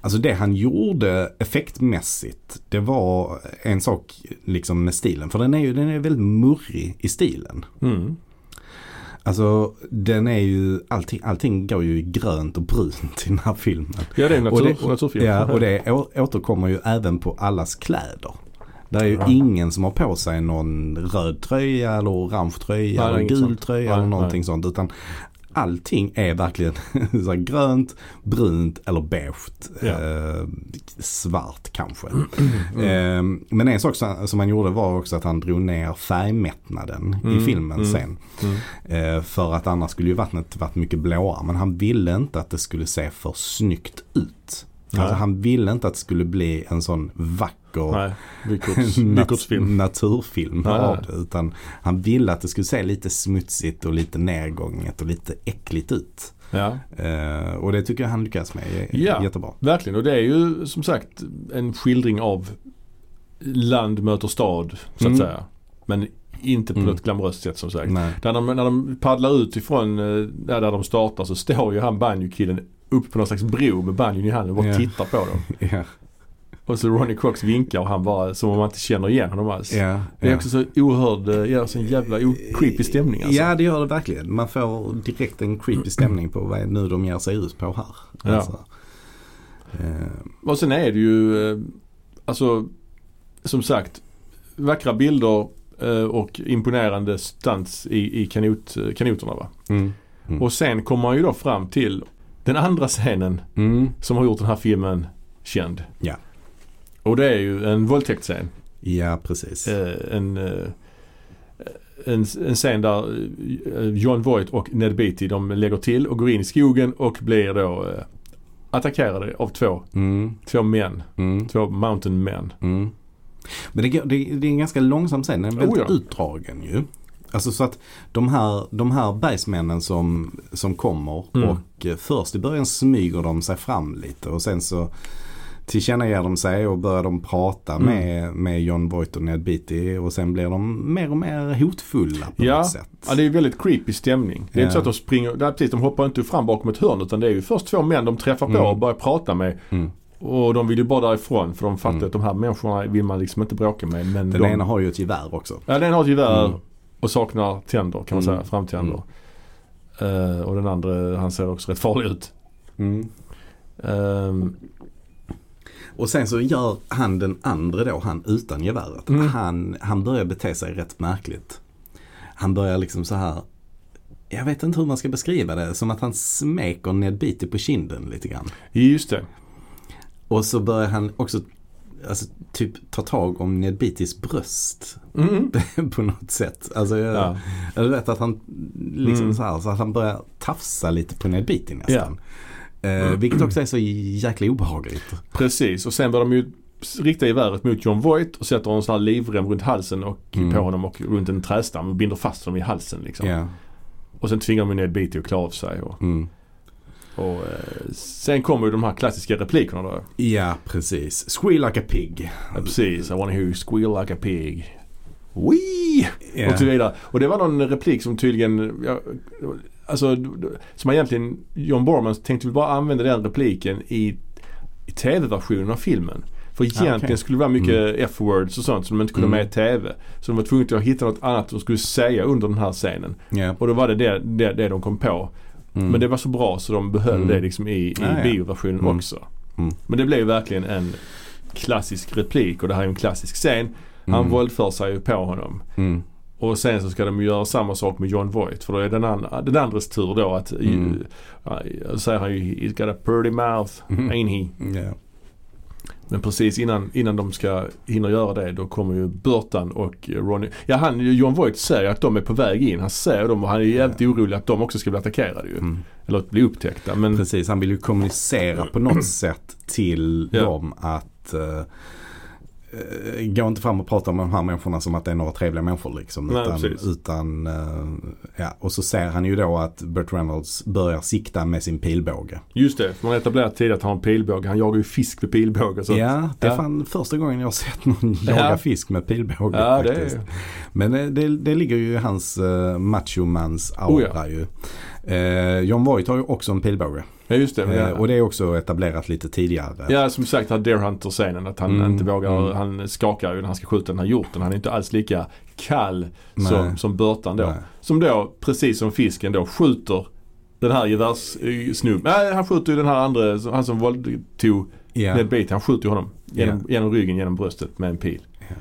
B: Alltså det han gjorde effektmässigt det var en sak liksom med stilen. För den är ju den är väldigt murrig i stilen.
A: Mm.
B: Alltså den är ju, allting, allting går ju i grönt och brunt i den här filmen.
A: Ja, det är en natur,
B: och det,
A: naturfilm.
B: Ja, och det å- återkommer ju även på allas kläder. Det är ju
A: Ja.
B: ingen som har på sig någon röd tröja eller orange tröja
A: Nej,
B: eller
A: inget
B: gul
A: sånt.
B: tröja
A: Nej,
B: eller någonting sånt. Utan allting är verkligen så här grönt, brunt eller beige.
A: Ja.
B: Eh, svart kanske. Eh, men en sak som, som han gjorde var också att han drog ner färgmättnaden i
A: Mm,
B: filmen
A: mm.
B: sen.
A: Mm.
B: Eh, För att annars skulle ju vattnet varit mycket blåare. Men han ville inte att det skulle se för snyggt ut. Alltså
A: Nej.
B: han ville inte att det skulle bli en sån vacker
A: Nej, Vykorts, Vykorts
B: nat-
A: film.
B: naturfilm
A: Nej,
B: av
A: nej.
B: det. Utan han ville att det skulle se lite smutsigt och lite nedgånget och lite äckligt ut.
A: Ja,
B: Eh, Och det tycker jag han lyckas med j-
A: Ja.
B: jättebra.
A: verkligen. Och det är ju som sagt en skildring av land möter stad, så att
B: Mm.
A: säga. Men inte på
B: Mm.
A: något glamoröst sätt som sagt.
B: Nej.
A: Där de, när de paddlar ut ifrån eh, där, där de startar så står ju han banjo-killen upp på någon slags bro med banjon i handen och bara
B: Ja.
A: tittar på dem.
B: Ja.
A: Och så Ronnie Cox vinkar och han bara som om man inte känner igen honom alls.
B: Ja.
A: Det är
B: ja.
A: också så oerhörd, eh, gör sån jävla o- creepy stämning alltså.
B: Ja det gör det verkligen. Man får direkt en creepy stämning på vad är det nu de ger sig ut på här.
A: Ja.
B: Alltså. Eh,
A: Och sen är det ju, eh, alltså som sagt, vackra bilder eh, och imponerande stunts i, i kanot, eh, kanoterna va.
B: Mm. Mm.
A: Och sen kommer man ju då fram till den andra scenen
B: Mm.
A: som har gjort den här filmen känd.
B: Ja.
A: Och det är ju en våldtäktsscen.
B: Ja, precis.
A: Eh, en, eh, en, en scen där eh, John Voight och Ned Beatty de lägger till och går in i skogen och blir då eh, attackerade av två,
B: Mm,
A: två män.
B: mm,
A: Två mountain men.
B: mm. Men det, går- det, det är en ganska långsam scen. Den är väldigt
A: Oh, ja.
B: utdragen ju. Alltså så att de här, de här bergsmännen som, som kommer
A: Mm.
B: och eh, först i början smyger de sig fram lite och sen så tillkännager de sig och börjar de prata
A: Mm.
B: med, med John Voight och Ned Beatty och sen blir de mer och mer hotfulla på
A: Ja.
B: något sätt.
A: Ja, det är ju väldigt creepy stämning. Det är
B: Ja.
A: inte så att de springer, nej, precis, de hoppar inte fram bakom ett hörn utan det är ju först två män de träffar på
B: Mm.
A: och börjar prata med.
B: Mm.
A: Och de vill ju bara därifrån för de fattar
B: Mm.
A: att de här människorna vill man liksom inte bråka med. Men
B: Den
A: de,
B: ena har ju ett gevär också.
A: ja, den har ett gevär.
B: Mm.
A: Och saknar tänder kan man säga,
B: Mm.
A: framtänder. Eh, och den andra han ser också rätt farlig ut.
B: Mm.
A: Ehm,
B: Och sen så gör han den andra då, han utan geväret.
A: Mm.
B: Han, han börjar bete sig rätt märkligt. Han börjar liksom så här. Jag vet inte hur man ska beskriva det. Som att han smeker Ned Beatty på kinden lite grann.
A: just det.
B: Och så börjar han också alltså, typ ta tag om Ned Beattys bröst.
A: Mm.
B: på något sätt. Alltså, jag,
A: Ja.
B: jag vet att han liksom
A: Mm.
B: så här, så att han börjar tafsa lite på Ned Beatty nästan. Eh,
A: Mm.
B: vilket också är så jäkla obehagligt.
A: Precis och sen börjar de ju rikta geväret mot John Voight och sätter en sån här livrem runt halsen och
B: Mm.
A: på honom och runt en trädstam och binder fast honom i halsen liksom.
B: Ja.
A: Och sen tvingar de ned Beatty att klä av sig. Och,
B: Mm.
A: och, eh, sen kommer ju de här klassiska replikerna då.
B: Ja, precis. Squeal like a pig.
A: Ja, precis, I wanna hear you squeal like a pig. Wee!
B: Ja.
A: Och så vidare. Och det var någon replik som tydligen, ja, alltså d- d- som egentligen John Borman tänkte väl bara använda den repliken i, i tv-versionen av filmen. För egentligen
B: Ah, okej. Mm.
A: skulle det vara mycket F-words och sånt som de inte kunde ha med i tv. Så de var tvungna att hitta något annat de skulle säga under den här scenen.
B: Ja.
A: Och då var det det, det, det de kom på.
B: Mm.
A: Men det var så bra så de behöll
B: Mm.
A: det liksom i, i
B: Ja, ja.
A: bioversionen
B: Mm.
A: också.
B: Mm.
A: Men det blev ju verkligen en klassisk replik och det här är ju en klassisk scen. Han
B: Mm.
A: våldför sig ju på honom.
B: Mm.
A: Och sen så ska de ju göra samma sak med John Voight för då är den, andra, den andres tur då att
B: Mm.
A: eh, säger han ju He's got a pretty mouth,
B: Mhm.
A: ain't he?
B: Ja.
A: Men precis innan, innan de ska hinna göra det då kommer ju Burtan och Ronny. Ja han, John Voight säger att de är på väg in. Han ser dem och han är ju jävligt orolig att de också ska bli attackerade ju.
B: Mm.
A: Eller att bli upptäckta. Men
B: Precis, han vill ju kommunicera på något sätt till
A: Ja.
B: dem att eh, eh, Gå inte fram och prata om de här människorna som att det är några trevliga människor liksom.
A: Nej,
B: utan,
A: precis.
B: utan, eh, ja. Och så ser han ju då att Burt Reynolds börjar sikta med sin pilbåge.
A: just det, för man har etablerat tidigare att han har en pilbåge. Han jagar ju fisk med pilbåge. Så att-
B: ja, det är
A: ja.
B: fan första gången jag har sett någon jaga
A: Ja.
B: fisk med pilbåge
A: ja det
B: faktiskt.
A: är
B: Men eh, det, det ligger ju i hans uh, machomans aura
A: Oh ja.
B: ju. Eh, John Voight har ju också en pilbåge.
A: Ja just det.
B: Eh,
A: Ja.
B: och det är också etablerat lite tidigare.
A: Ja, som sagt den här Deer Hunter-scenen. Att han
B: Mm,
A: inte vågar.
B: mm.
A: Han skakar ju när han ska skjuta den här hjorten. Han är inte alls lika kall
B: Nej.
A: som, som Börtan då.
B: Nej.
A: Som då, precis som fisken då, skjuter den här gevärssnubben. Nej, han skjuter ju den här andra, som- han som våldtog
B: Ja.
A: Ned Beatty. Han skjuter ju honom genom, genom ryggen, genom bröstet med en pil.
B: Ja.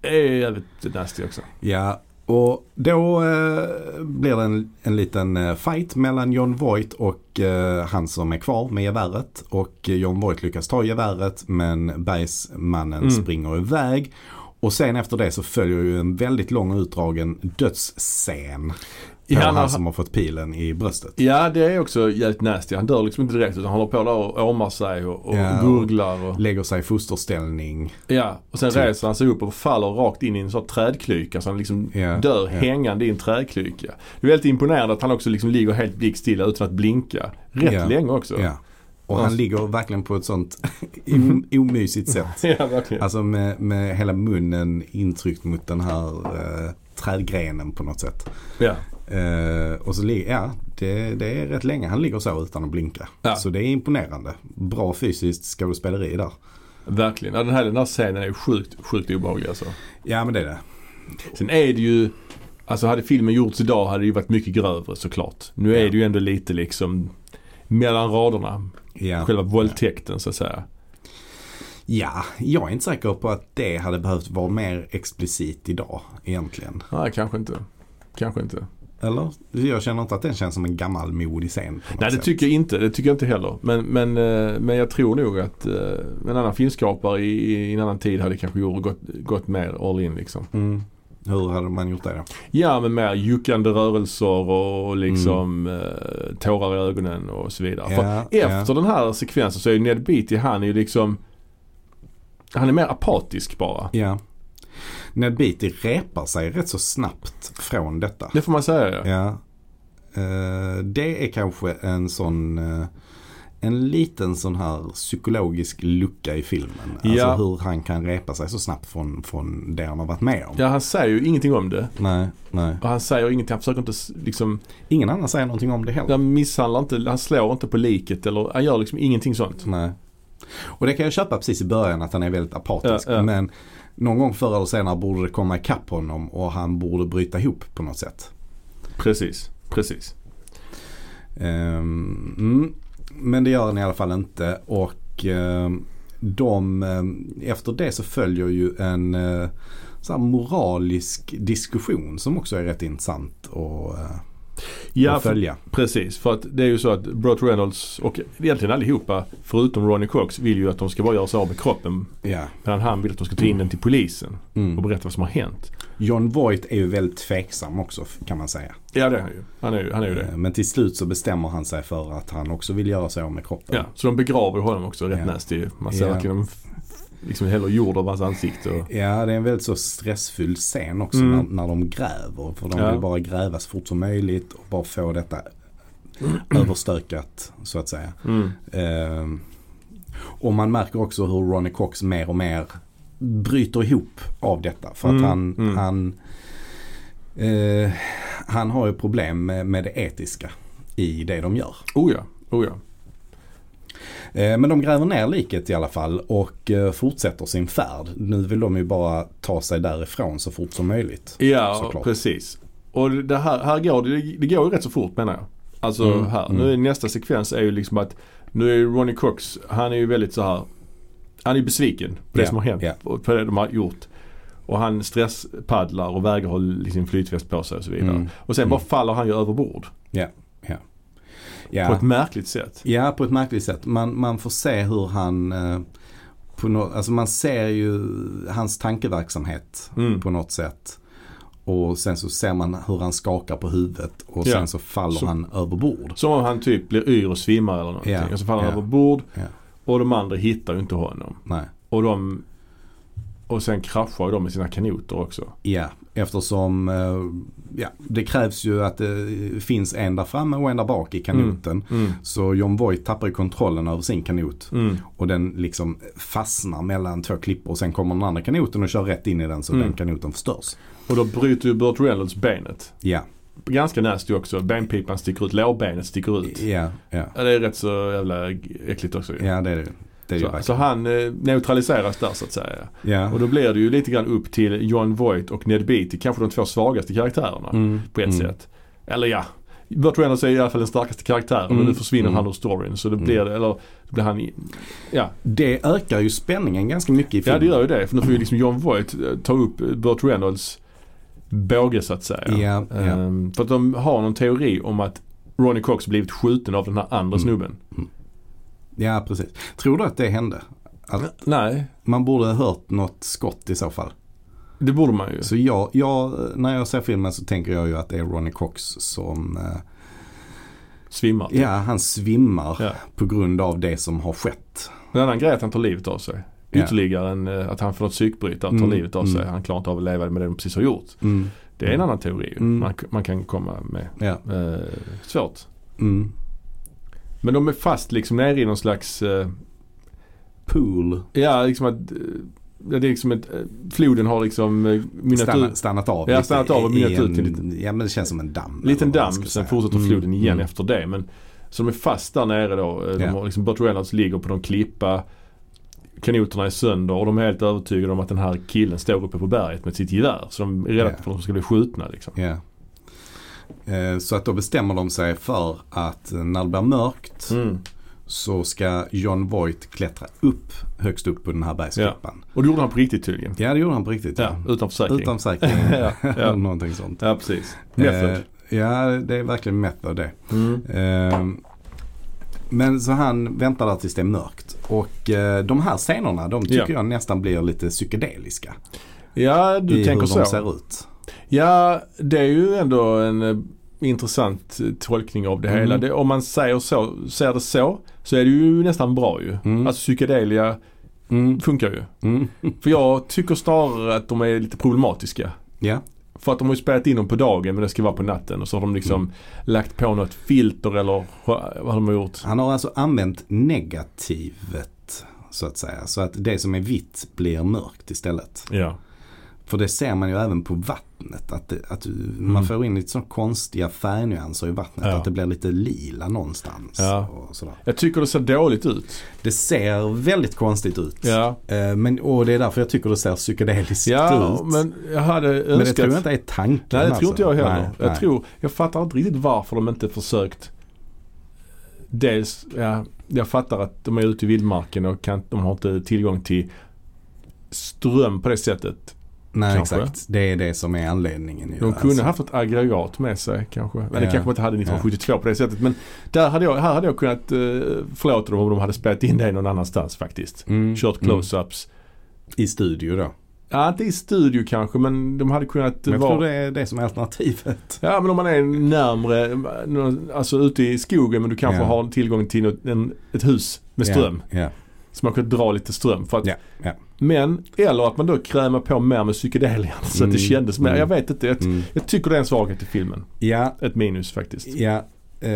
A: Det är jävligt nasty också.
B: ja. Och då eh, blir det en, en liten eh, fight mellan John Voight och eh, han som är kvar med geväret. Och eh, John Voight lyckas ta geväret men bergsmannen
A: Mm.
B: springer iväg. Och sen efter det så följer ju en väldigt lång och utdragen dödsscen. På
A: Ja,
B: han
A: han-
B: som har fått pilen i bröstet.
A: Ja, det är också jävligt nasty. Han dör liksom inte direkt utan han håller på där och åmar sig och, och
B: Ja.
A: gurglar. Och...
B: lägger sig i fosterställning.
A: Ja, och sen
B: Typ.
A: reser han sig upp och faller rakt in i en sån här trädklyka. Så han liksom
B: Ja,
A: dör
B: ja.
A: hängande i en trädklyka. Det är väldigt imponerande att han också liksom ligger helt blickstilla utan att blinka. Rätt
B: Ja.
A: länge också.
B: Ja. Och
A: Ja.
B: han ligger verkligen på ett sånt om- omysigt sätt.
A: Mm. Ja, verkligen.
B: Alltså med, med hela munnen intryckt mot den här eh, trädgrenen på något sätt.
A: Ja.
B: Eh, och så ligger, ja det, det är rätt länge han ligger så utan att blinka.
A: Ja.
B: Så det är imponerande. Bra fysiskt skådespeleri där.
A: Verkligen. Ja, den, här, den här scenen är ju sjukt, sjukt obehaglig alltså.
B: Ja men det är det.
A: Sen är det ju, alltså hade filmen gjorts idag hade det ju varit mycket grövre såklart. Nu är
B: Ja.
A: det ju ändå lite liksom mellan raderna.
B: Ja.
A: Själva våldtäkten så att säga.
B: ja, jag är inte säker på att det hade behövt vara mer explicit idag egentligen.
A: Nej, kanske inte. Kanske inte.
B: Eller? Jag känner inte att den känns som en gammal modig scen. på något
A: Nej det
B: sätt.
A: tycker jag inte. Det tycker jag inte heller. Men, men, eh, men jag tror nog att eh, en annan filmskapare i, i en annan tid hade kanske gjort, gått, gått mer all in liksom.
B: Mm. Hur hade man gjort det då?
A: Ja men mer juckande rörelser och liksom eh, tårar i ögonen och så vidare. För
B: Mm. Ja,
A: efter
B: ja.
A: den här sekvensen så är ju Ned Beatty han är ju liksom han är mer apatisk bara.
B: ja. Ned Beatty repar sig rätt så snabbt från detta.
A: Det får man säga ja.
B: Ja. Eh, det är kanske en sån eh, en liten sån här psykologisk lucka i filmen.
A: Ja.
B: Alltså hur han kan repa sig så snabbt från, från det han har varit med om.
A: ja han säger ju ingenting om det.
B: Nej, nej.
A: Och han säger ingenting. Han försöker inte s- liksom
B: Ingen annan säger någonting om det heller.
A: Han misshandlar inte, han slår inte på liket eller han gör liksom ingenting sånt.
B: Nej. Och det kan jag köpa precis i början att han är väldigt apatisk.
A: Ja, ja.
B: Men någon gång förr eller senare borde det komma ikapp honom och han borde bryta ihop på något sätt.
A: Precis, precis.
B: Ehm, mm. Men det gör den i alla fall inte. Och ehm, de, ehm, efter det så följer ju en eh, så här moralisk diskussion som också är rätt intressant att, eh,
A: Ja,
B: att följa.
A: Precis, för att det är ju så att Brot Reynolds och egentligen allihopa förutom Ronnie Cox vill ju att de ska bara göra sig av med kroppen.
B: Ja.
A: Medan han vill att de ska ta in den till polisen och
B: Mm.
A: berätta vad som har hänt.
B: John Voight är ju väldigt tveksam också f- kan man säga.
A: Ja det är han ju. Han är ju, han är ju det.
B: Eh, Men till slut så bestämmer han sig för att han också vill göra sig av med kroppen.
A: Ja, så de begraver honom också rätt
B: Ja.
A: nasty ju. Man ser
B: Ja.
A: verkligen de f- liksom häller jord över hans ansikte. Och,
B: Ja, det är en väldigt så stressfylld scen också
A: Mm.
B: när, när de gräver. För de
A: Ja.
B: vill bara gräva så fort som möjligt och bara få detta överstökat så att säga.
A: mm.
B: Ehm, och man märker också hur Ronnie Cox mer och mer bryter ihop av detta. För att
A: Mm,
B: han,
A: mm.
B: han, eh, han har ju problem med, med det etiska i det de gör.
A: Oh ja, oh ja.
B: Eh, Men de gräver ner liket i alla fall och eh, fortsätter sin färd. Nu vill de ju bara ta sig därifrån så fort som möjligt.
A: Ja,
B: Såklart.
A: precis. Och det här, här går det, det går ju rätt så fort menar jag. Alltså
B: Mm,
A: här.
B: mm.
A: Nu är nästa sekvens är ju liksom att nu är ju Ronnie Cox, han är ju väldigt så här. Han är ju besviken på det
B: Ja,
A: som har hänt
B: ja.
A: och på det de har gjort. Och han stresspaddlar och vägrar ha sin flytväst på sig och så vidare.
B: Mm,
A: Och sen bara faller han ju över bord
B: Ja.
A: på ett märkligt sätt.
B: Ja, på ett märkligt sätt. Man, man får se hur han, eh, på nå- alltså man ser ju hans tankeverksamhet
A: Mm.
B: på något sätt. Och sen så ser man hur han skakar på huvudet och
A: Ja.
B: sen så faller
A: Så-
B: han över bord.
A: Som om han typ blir yr och svimmar eller någonting.
B: Ja,
A: Och så faller han
B: ja,
A: över bord
B: ja.
A: och de andra hittar ju inte honom.
B: Nej.
A: Och de och sen kraschar ju de med sina kanoter också.
B: Ja, eftersom eh, ja, det krävs ju att det finns en där framme och en där bak i kanoten.
A: Mm.
B: Så John Voight tappar ju kontrollen över sin kanot.
A: Mm.
B: Och den liksom fastnar mellan två klippor och sen kommer den andra kanoten och kör rätt in i den så
A: Mm.
B: den kanoten förstörs.
A: Och då bryter ju Burt Reynolds benet.
B: Ja,
A: Ganska nasty också. Benpipan sticker ut, lårbenet sticker ut.
B: ja, ja.
A: Ja, det är rätt så jävla äckligt också ju.
B: Ja det är det. Det är det ju
A: Så,
B: verkligen.
A: så han eh, neutraliseras där så att säga.
B: ja.
A: Och då blir det ju lite grann upp till John Voight och Ned Beatty, kanske de två svagaste karaktärerna
B: Mm.
A: på ett
B: Mm.
A: sätt. Eller ja, Burt Reynolds är i alla fall den starkaste karaktären och
B: Mm.
A: nu försvinner
B: Mm.
A: han ur storyn. Så det
B: Mm.
A: blir det, eller då blir han, i- ja.
B: Det ökar ju spänningen ganska mycket i
A: ja det
B: filmen.
A: gör ju det. För nu får ju liksom John Voight eh, ta upp Burt Reynolds båge så att säga.
B: Ja, ja.
A: Ehm, För att de har någon teori om att Ronnie Cox blivit skjuten av den här andra
B: Mm.
A: snubben.
B: ja, precis. Tror du att det hände? Att
A: Nej.
B: man borde ha hört något skott i så fall.
A: Det borde man ju.
B: Så jag, jag, när jag ser filmen så tänker jag ju att det är Ronnie Cox som, eh,
A: Svimmar.
B: ja han svimmar
A: Ja.
B: på grund av det som har skett.
A: En annan grej är att han tar livet av sig.
B: Ja.
A: Ytterligare en, eh, att han får något psykbryt där och tar
B: Mm,
A: livet av sig.
B: mm.
A: Han klarar inte av att leva med det de precis har gjort.
B: Mm.
A: Det är en annan teori ju.
B: Mm.
A: man, man kan komma med.
B: Ja.
A: Eh, svårt.
B: Mm.
A: Men de är fast liksom nere i någon slags, eh,
B: Pool
A: ja liksom att, eh, det är liksom ett, eh, floden har liksom eh, mynnat
B: Stanna,
A: ut.
B: stannat av.
A: Ja,
B: lite
A: stannat av och
B: i- i
A: mynnat ut
B: en-
A: till lite-
B: Ja men det känns som en damm. eller
A: Liten
B: vad man
A: damm,
B: ska
A: sen
B: säga.
A: fortsätter
B: Mm,
A: floden igen
B: mm.
A: efter det. Men, så de är fast där nere då. Eh, De
B: Ja.
A: har liksom, Burt Reynolds ligger på någon klippa. Kanoterna är sönder och de är helt övertygade om att den här killen står uppe på berget med sitt gevär. Så de är rädda
B: Ja.
A: för att de ska bli skjutna liksom.
B: Ja. Eh, Så att då bestämmer de sig för att eh, när det blir mörkt
A: Mm.
B: så ska John Voight klättra upp högst upp på den här bergsklippan.
A: Och det gjorde han på riktigt tydligen.
B: Ja. det gjorde han på riktigt.
A: Ja, utan försäkring.
B: Utan försäkring.
A: ja,
B: Eller
A: ja.
B: någonting sånt.
A: ja, precis. Method.
B: Eh, Ja, det är verkligen method det.
A: Mm.
B: Eh, Men så han väntar där tills det är mörkt. Och eh, de här scenerna de tycker
A: Ja.
B: jag nästan blir lite psykedeliska.
A: Ja, du
B: I
A: tänker
B: hur
A: så.
B: de ser ut.
A: Ja, det är ju ändå en eh, intressant eh, tolkning av det
B: Mm.
A: hela. Det, om man säger så, ser det så, så är det ju nästan bra ju.
B: Mm.
A: Alltså psykedelia
B: Mm.
A: funkar ju.
B: Mm.
A: För jag tycker snarare att de är lite problematiska.
B: Ja.
A: För att de har ju spelat in dem på dagen men det ska vara på natten och så har de liksom
B: Mm.
A: lagt på något filter eller vad har de har gjort.
B: Han har alltså använt negativet så att säga. Så att det som är vitt blir mörkt istället.
A: Ja.
B: För det ser man ju även på vattnet. Att, det, att man får in lite sådana konstiga färgnyanser i vattnet.
A: Mm. Ja.
B: Att det blir lite lila någonstans.
A: Ja.
B: Och sådär.
A: Jag tycker det ser dåligt ut.
B: Det ser väldigt konstigt ut.
A: Ja,
B: Eh, Men, och det är därför jag tycker det ser psykedeliskt
A: ja
B: ut.
A: men jag hade önskat...
B: Men det tror jag inte är tanken.
A: Nej, det
B: alltså.
A: tror inte jag heller.
B: Nej,
A: jag
B: nej.
A: tror, jag fattar inte riktigt varför de inte försökt. Dels, ja, jag fattar att de är ute i vildmarken och kan, de har inte tillgång till ström på det sättet.
B: Nej,
A: Kanske.
B: exakt. Det är det som är anledningen. ju,
A: De kunde
B: alltså.
A: haft ett aggregat med sig kanske. Men det
B: Ja.
A: kanske man inte hade 1972 på det sättet. Men där hade jag, här hade jag kunnat eh, förlåta dem om de hade spelat in det någon annanstans faktiskt.
B: Mm,
A: Kört close-ups.
B: I studio då.
A: Ja, inte i studio kanske men de hade kunnat
B: Men jag
A: vara...
B: tror det är det som är alternativet.
A: Ja men om man är närmre, någon- alltså ute i skogen men du kanske
B: Ja.
A: har tillgång till något, en, ett hus med ström.
B: Ja, ja,
A: Så man kan dra lite ström. För att,
B: ja, ja.
A: Men, eller att man då krämar på mer med psykedelia så att det
B: Mm,
A: kändes mer.
B: mm.
A: Jag vet inte, jag,
B: Mm.
A: jag tycker det är en svaghet i filmen.
B: Ja,
A: Ett minus faktiskt.
B: ja. eh,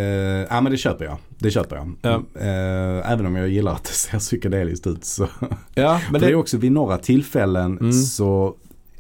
B: ja men det köper jag. Det köper jag.
A: Ja.
B: Eh, även om jag gillar att det ser psykedeliskt ut så.
A: Ja, men
B: Men det är
A: det,
B: också vid några tillfällen
A: Mm.
B: så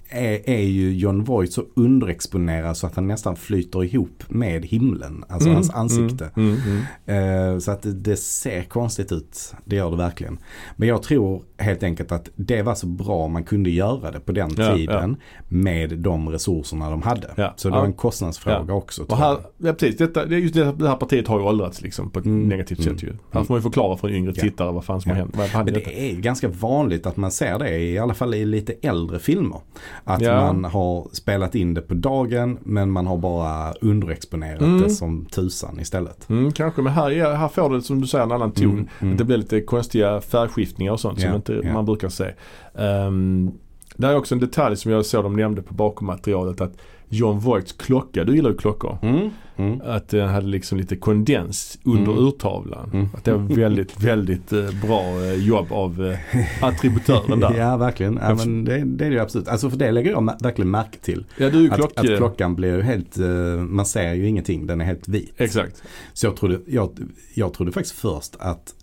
B: är, är ju John Voight så underexponerad så att han nästan flyter ihop med himlen. Alltså hans ansikte.
A: Mm, mm, mm.
B: Eh, Så att det- det ser konstigt ut. Det gör det verkligen. Men jag tror helt enkelt att det var så bra man kunde göra det på den
A: Ja,
B: tiden. Med de resurserna de hade.
A: Ja.
B: Så det var
A: Ja.
B: en kostnadsfråga också.
A: Och
B: tror
A: här,
B: jag.
A: ja, precis, detta, det, är just det, det här partiet har ju åldrats liksom på ett
B: Mm,
A: negativt
B: mm,
A: sätt ju. Här får man ju förklara för en yngre
B: Ja.
A: tittare vad fan som har
B: Ja.
A: hänt. Vad fan är
B: Men
A: detta?
B: det är ganska vanligt att man ser det i alla fall i lite äldre filmer. Att
A: Ja.
B: man har spelat in det på dagen men man har bara underexponerat
A: Mm.
B: det som tusan istället.
A: Mm, kanske, men här, är- här får det som du säger en annan ton.
B: Mm, mm.
A: Att det blir lite konstiga färgskiftningar och sånt
B: Ja,
A: som inte
B: ja.
A: man brukar se. Um, där är också en detalj som jag såg de nämnde på bakom materialet att John Voights klocka, du gillar ju klockor.
B: Mm. Mm.
A: Att den hade liksom lite kondens under
B: Mm.
A: urtavlan.
B: Mm.
A: Att det var väldigt, väldigt eh, bra eh, jobb av eh, attributören där. ja.
B: Ja verkligen, ja,
A: Jag förs-
B: men det, det är det ju absolut. Alltså för det lägger jag ma- verkligen märke till.
A: du är ju
B: Att,
A: klock...
B: att klockan blir ju helt, eh, man ser ju ingenting, den är helt vit.
A: Exakt.
B: Så jag trodde, jag, jag trodde faktiskt först att,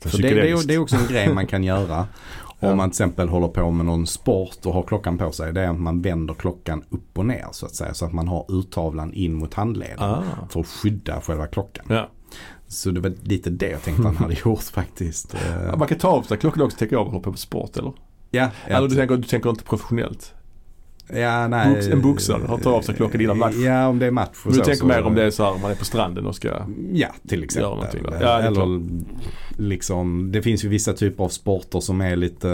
B: för det, det, är, ju-
A: Psykedeliskt.
B: det är också en grej man kan göra.
A: Ja.
B: Om man till exempel håller på med någon sport och har klockan på sig. Det är att man vänder klockan upp och ner så att säga. Så att man har urtavlan in mot handleden.
A: Ah.
B: För att skydda själva klockan.
A: Ja.
B: Så det var lite det jag tänkte han hade gjort faktiskt. Eh,
A: Ja, Man kan ta av sig klockan också och tänka av och hålla på med sport eller?
B: Ja, ja,
A: Eller Alltså, du tänker, du tänker inte professionellt?
B: ja, nej.
A: box- en boxare, han tar av sig klockan innan match.
B: Ja, om det är match och
A: Men du
B: så,
A: tänker
B: så-
A: mer om det är så här, man är på stranden och ska...
B: Ja, till
A: Gör
B: exempel.
A: någonting där. Ja, det är
B: Eller liksom, det finns ju vissa typer av sporter som är lite,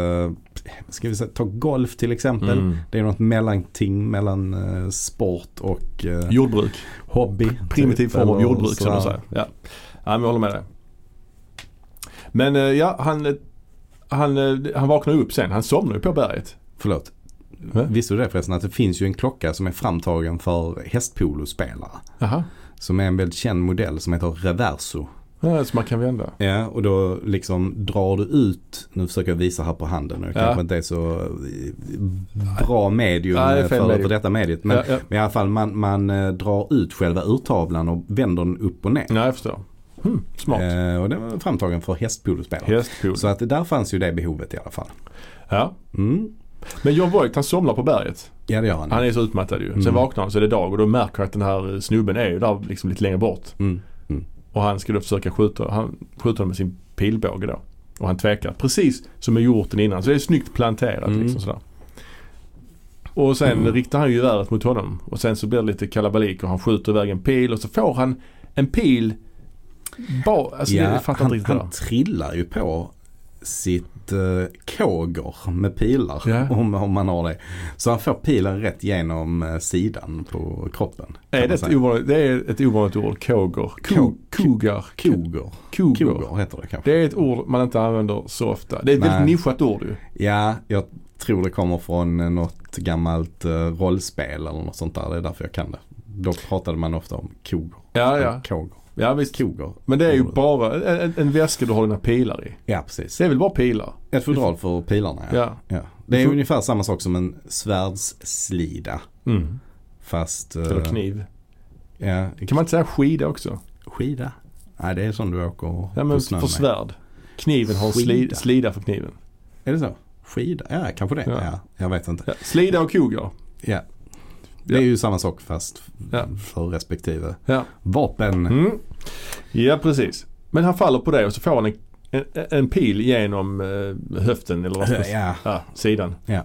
B: eh, ska vi säga, ta golf till exempel.
A: Mm.
B: Det är något mellanting mellan eh, sport och eh,
A: Jordbruk.
B: hobby.
A: Primitiv
B: typ,
A: form av
B: eller
A: jordbruk som
B: sådär.
A: de säger. Ja. ja, men jag håller med dig. Men eh, ja, han, eh, han, eh, han vaknar ju upp sen. Han somnar ju på berget.
B: Förlåt.
A: Va?
B: Visste du det förresten att det finns ju en klocka som är framtagen för hästpolospelare.
A: Jaha.
B: Som är en väldigt känd modell som heter Reverso.
A: Ja, så man kan vända.
B: Ja, och då liksom drar du ut, nu försöker jag visa här på handen, och det
A: Ja.
B: kanske inte är så eh, bra medium
A: Nej, det är
B: eh,
A: fel
B: för,
A: medium.
B: för detta mediet. Men,
A: Ja, ja.
B: men i alla fall man, man eh, drar ut själva urtavlan och vänder den upp och ner.
A: Nej, jag förstår. Hmm, smart.
B: Eh, och den var framtagen för hästpolospelare.
A: Hästpool.
B: Så att där fanns ju det behovet i alla fall.
A: Ja.
B: Mm.
A: Men John Voigt han somnar på berget.
B: Ja det gör han.
A: Han är så utmattad ju. Sen
B: Mm.
A: vaknar han så är det dag och då märker han att den här eh, snubben är ju där liksom lite längre bort.
B: Mm.
A: Och han skulle försöka skjuta, han skjuter honom med sin pilbåge då. Och han tvekar. Precis som med hjorten innan. Så det är snyggt planterat
B: Mm.
A: liksom sådär. Och sen riktar han ju geväret mot honom. Och sen så blir det lite kalabalik och han skjuter iväg en pil och så får han en pil. Ba, alltså det, jag
B: ja,
A: fattar inte
B: han,
A: riktigt det
B: han trillar ju på sitt eh, kåger med pilar.
A: Ja.
B: Om, om man har det. Så han får pilen rätt genom eh, sidan på kroppen.
A: där.
B: kan
A: Är
B: man
A: det, ett
B: säga.
A: ovanligt, det är ett ovanligt ord. Kåger. Ko,
B: Ko-
A: kogar.
B: Koger.
A: Koger.
B: Koger heter det kanske.
A: Det är ett ord man inte använder så ofta. Det är ett väldigt
B: Nej.
A: nischat ord ju.
B: Ja, jag tror det kommer från eh, något gammalt eh, rollspel eller något sånt där. Det är därför jag kan det. Då pratade man ofta om koger.
A: Ja, ja.
B: Koger.
A: Ja, visst.
B: koger.
A: Men det är ju bara en, en, en väska du har dina pilar i.
B: Ja, precis.
A: Det är väl bara pilar?
B: Ett fodral för pilarna ja.
A: Ja.
B: ja. Det är
A: Fod-
B: ungefär samma sak som en svärdsslida.
A: Mm.
B: Fast... eh,
A: Eller kniv.
B: Ja,
A: Kan man inte säga skida också?
B: skida? Nej, det är som du åker
A: Ja men
B: på snön
A: för
B: med.
A: svärd. Kniven har en
B: Skida.
A: sli, slida för kniven.
B: Är det så? Skida? Ja, kanske det.
A: Ja.
B: Ja. jag vet inte.
A: Ja. Slida och koga.
B: Ja. Det är ju samma sak fast
A: Ja.
B: för respektive
A: Ja.
B: vapen.
A: Mm. ja, precis. Men han faller på det och så får han en, en, en pil genom eh, höften eller vad ska man säga.
B: Ja,
A: Ja, sidan.
B: Ja.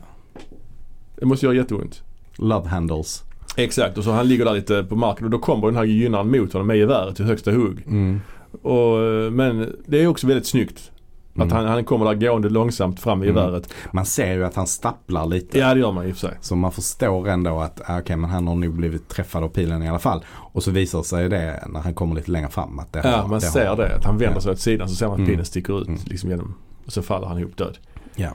A: Det måste göra jätteont.
B: love handles.
A: Exakt, och så han ligger där lite på marken och då kommer den här gynnaren mot honom med geväret till högsta hugg.
B: Mm.
A: Och, eh, men det är också väldigt snyggt.
B: Mm.
A: Att han, han kommer där gående långsamt fram med
B: Mm.
A: geväret.
B: Man ser ju att han stapplar lite.
A: Ja, det gör man i och för sig.
B: Så man förstår ändå att ah, okej, men han har nog blivit träffad av pilen i alla fall. Och så visar sig det när han kommer lite längre fram att det
A: Ja,
B: har,
A: man
B: det
A: ser
B: har,
A: det. Att han vänder
B: Ja.
A: sig åt sidan så ser man att
B: Mm.
A: pinnen sticker ut
B: Mm.
A: liksom genom. Och så faller han ihop död.
B: Ja.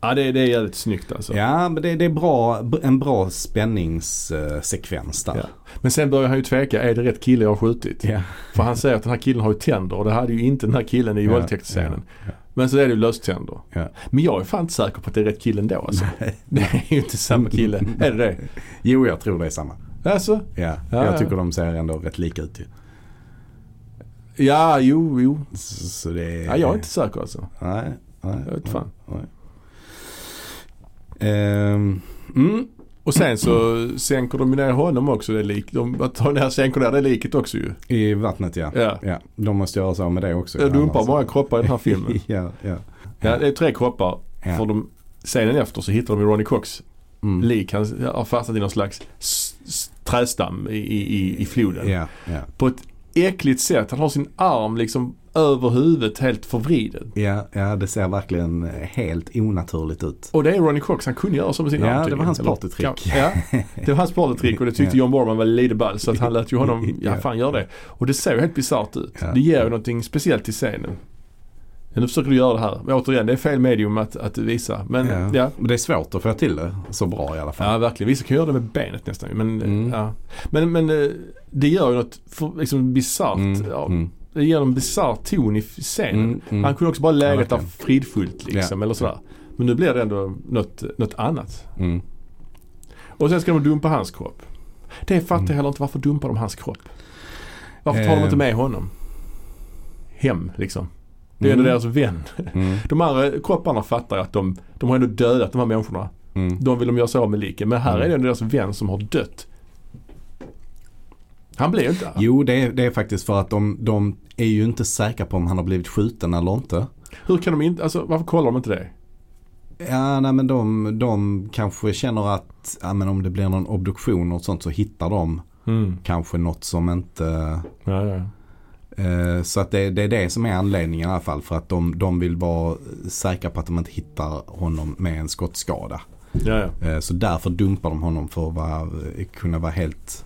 A: Ja, det, det är jävligt snyggt alltså.
B: Ja, men det, det är bra, en bra spänningssekvens där.
A: Men sen börjar han ju tveka. Är det rätt kille jag har skjutit?
B: Ja.
A: För han säger att den här killen har ju tänder och det hade ju inte den här killen i
B: Ja,
A: våldtäktsscenen.
B: ja,
A: Men så är det ju löständer.
B: Ja.
A: Men jag är fan inte säker på att det är rätt kille ändå alltså. Det är ju inte samma kille. Är det det?
B: Jo, jag tror det är samma.
A: Alltså?
B: Ja,
A: Ja, ja.
B: jag tycker de ser ändå rätt lika ut ju.
A: Ja, jo, jo.
B: Så så det är...
A: Ja, jag är inte säker alltså.
B: Nej, nej.
A: Jag vet fan.
B: nej. Ehm, mm,
A: Och sen så sänker de ju ner honom också. Det är lik. De tar ner, sänker ner det liket också ju.
B: I vattnet ja.
A: Ja.
B: ja. De måste göra så med det också.
A: Jag dumpar
B: Annars-
A: många kroppar i den här filmen.
B: ja, ja.
A: Ja, det är tre kroppar.
B: Ja.
A: För de, scenen efter så hittar de ju Ronnie Cox
B: Mm.
A: lik. Han har fastnat i någon slags s- s- trädstam i, i, i floden.
B: Ja, ja.
A: På ett äckligt sätt. Han har sin arm liksom över huvudet helt förvriden.
B: Ja, ja, det ser verkligen helt onaturligt ut.
A: Och det är Ronnie Cox. Han kunde göra så med sin
B: Ja,
A: arm
B: det var
A: tydligen.
B: hans
A: Eller-
B: partytrick.
A: Ja, det var hans partytrick och det tyckte
B: Ja.
A: John Borman var lite ball så att han lät ju honom, ja
B: Ja.
A: fan gör det. Och det ser ju helt bisarrt ut.
B: Ja.
A: Det ger ju någonting speciellt till scenen. Ja, nu försöker du göra det här. Men återigen, det är fel medium att, att visa. Men ja. ja.
B: Men det är svårt att få till det så bra i alla fall.
A: verkligen. Vissa kan göra det med benet nästan. Men,
B: Mm.
A: ja. men, men eh, det gör ju något för, liksom bisarrt.
B: Mm,
A: Ja,
B: mm,
A: Det ger en bisarr ton i f- scenen.
B: mm, mm.
A: Han kunde också bara läget där
B: verkligen.
A: fridfullt liksom. Eller sådär. Men nu blir det ändå något, något annat.
B: Mm.
A: Och sen ska de dumpa hans kropp. Det fattar jag
B: Mm.
A: heller inte. Varför dumpar de hans kropp? Varför tar de
B: Eh.
A: inte med honom? Hem liksom. Det är ändå
B: Mm.
A: deras vän.
B: Mm,
A: De andra kropparna fattar jag att de, de har ändå dödat de här människorna.
B: mm.
A: De vill de göra sig av med liken. Men här
B: Mm.
A: är det ändå deras vän som har dött. Han blir ju inte arg.
B: Jo, det är, det är faktiskt för att de, de är ju inte säkra på om han har blivit skjuten eller inte.
A: Hur kan de inte, alltså varför kollar de inte det?
B: Ja, nej men de, de kanske känner att ja, men om det blir någon obduktion och sånt så hittar de kanske något som inte...
A: Ja, ja.
B: Eh, så att det, det är det som är anledningen i alla fall. För att de, de vill vara säkra på att de inte hittar honom med en skottskada.
A: ja, ja.
B: Eh, Så därför dumpar de honom för att vara, kunna vara helt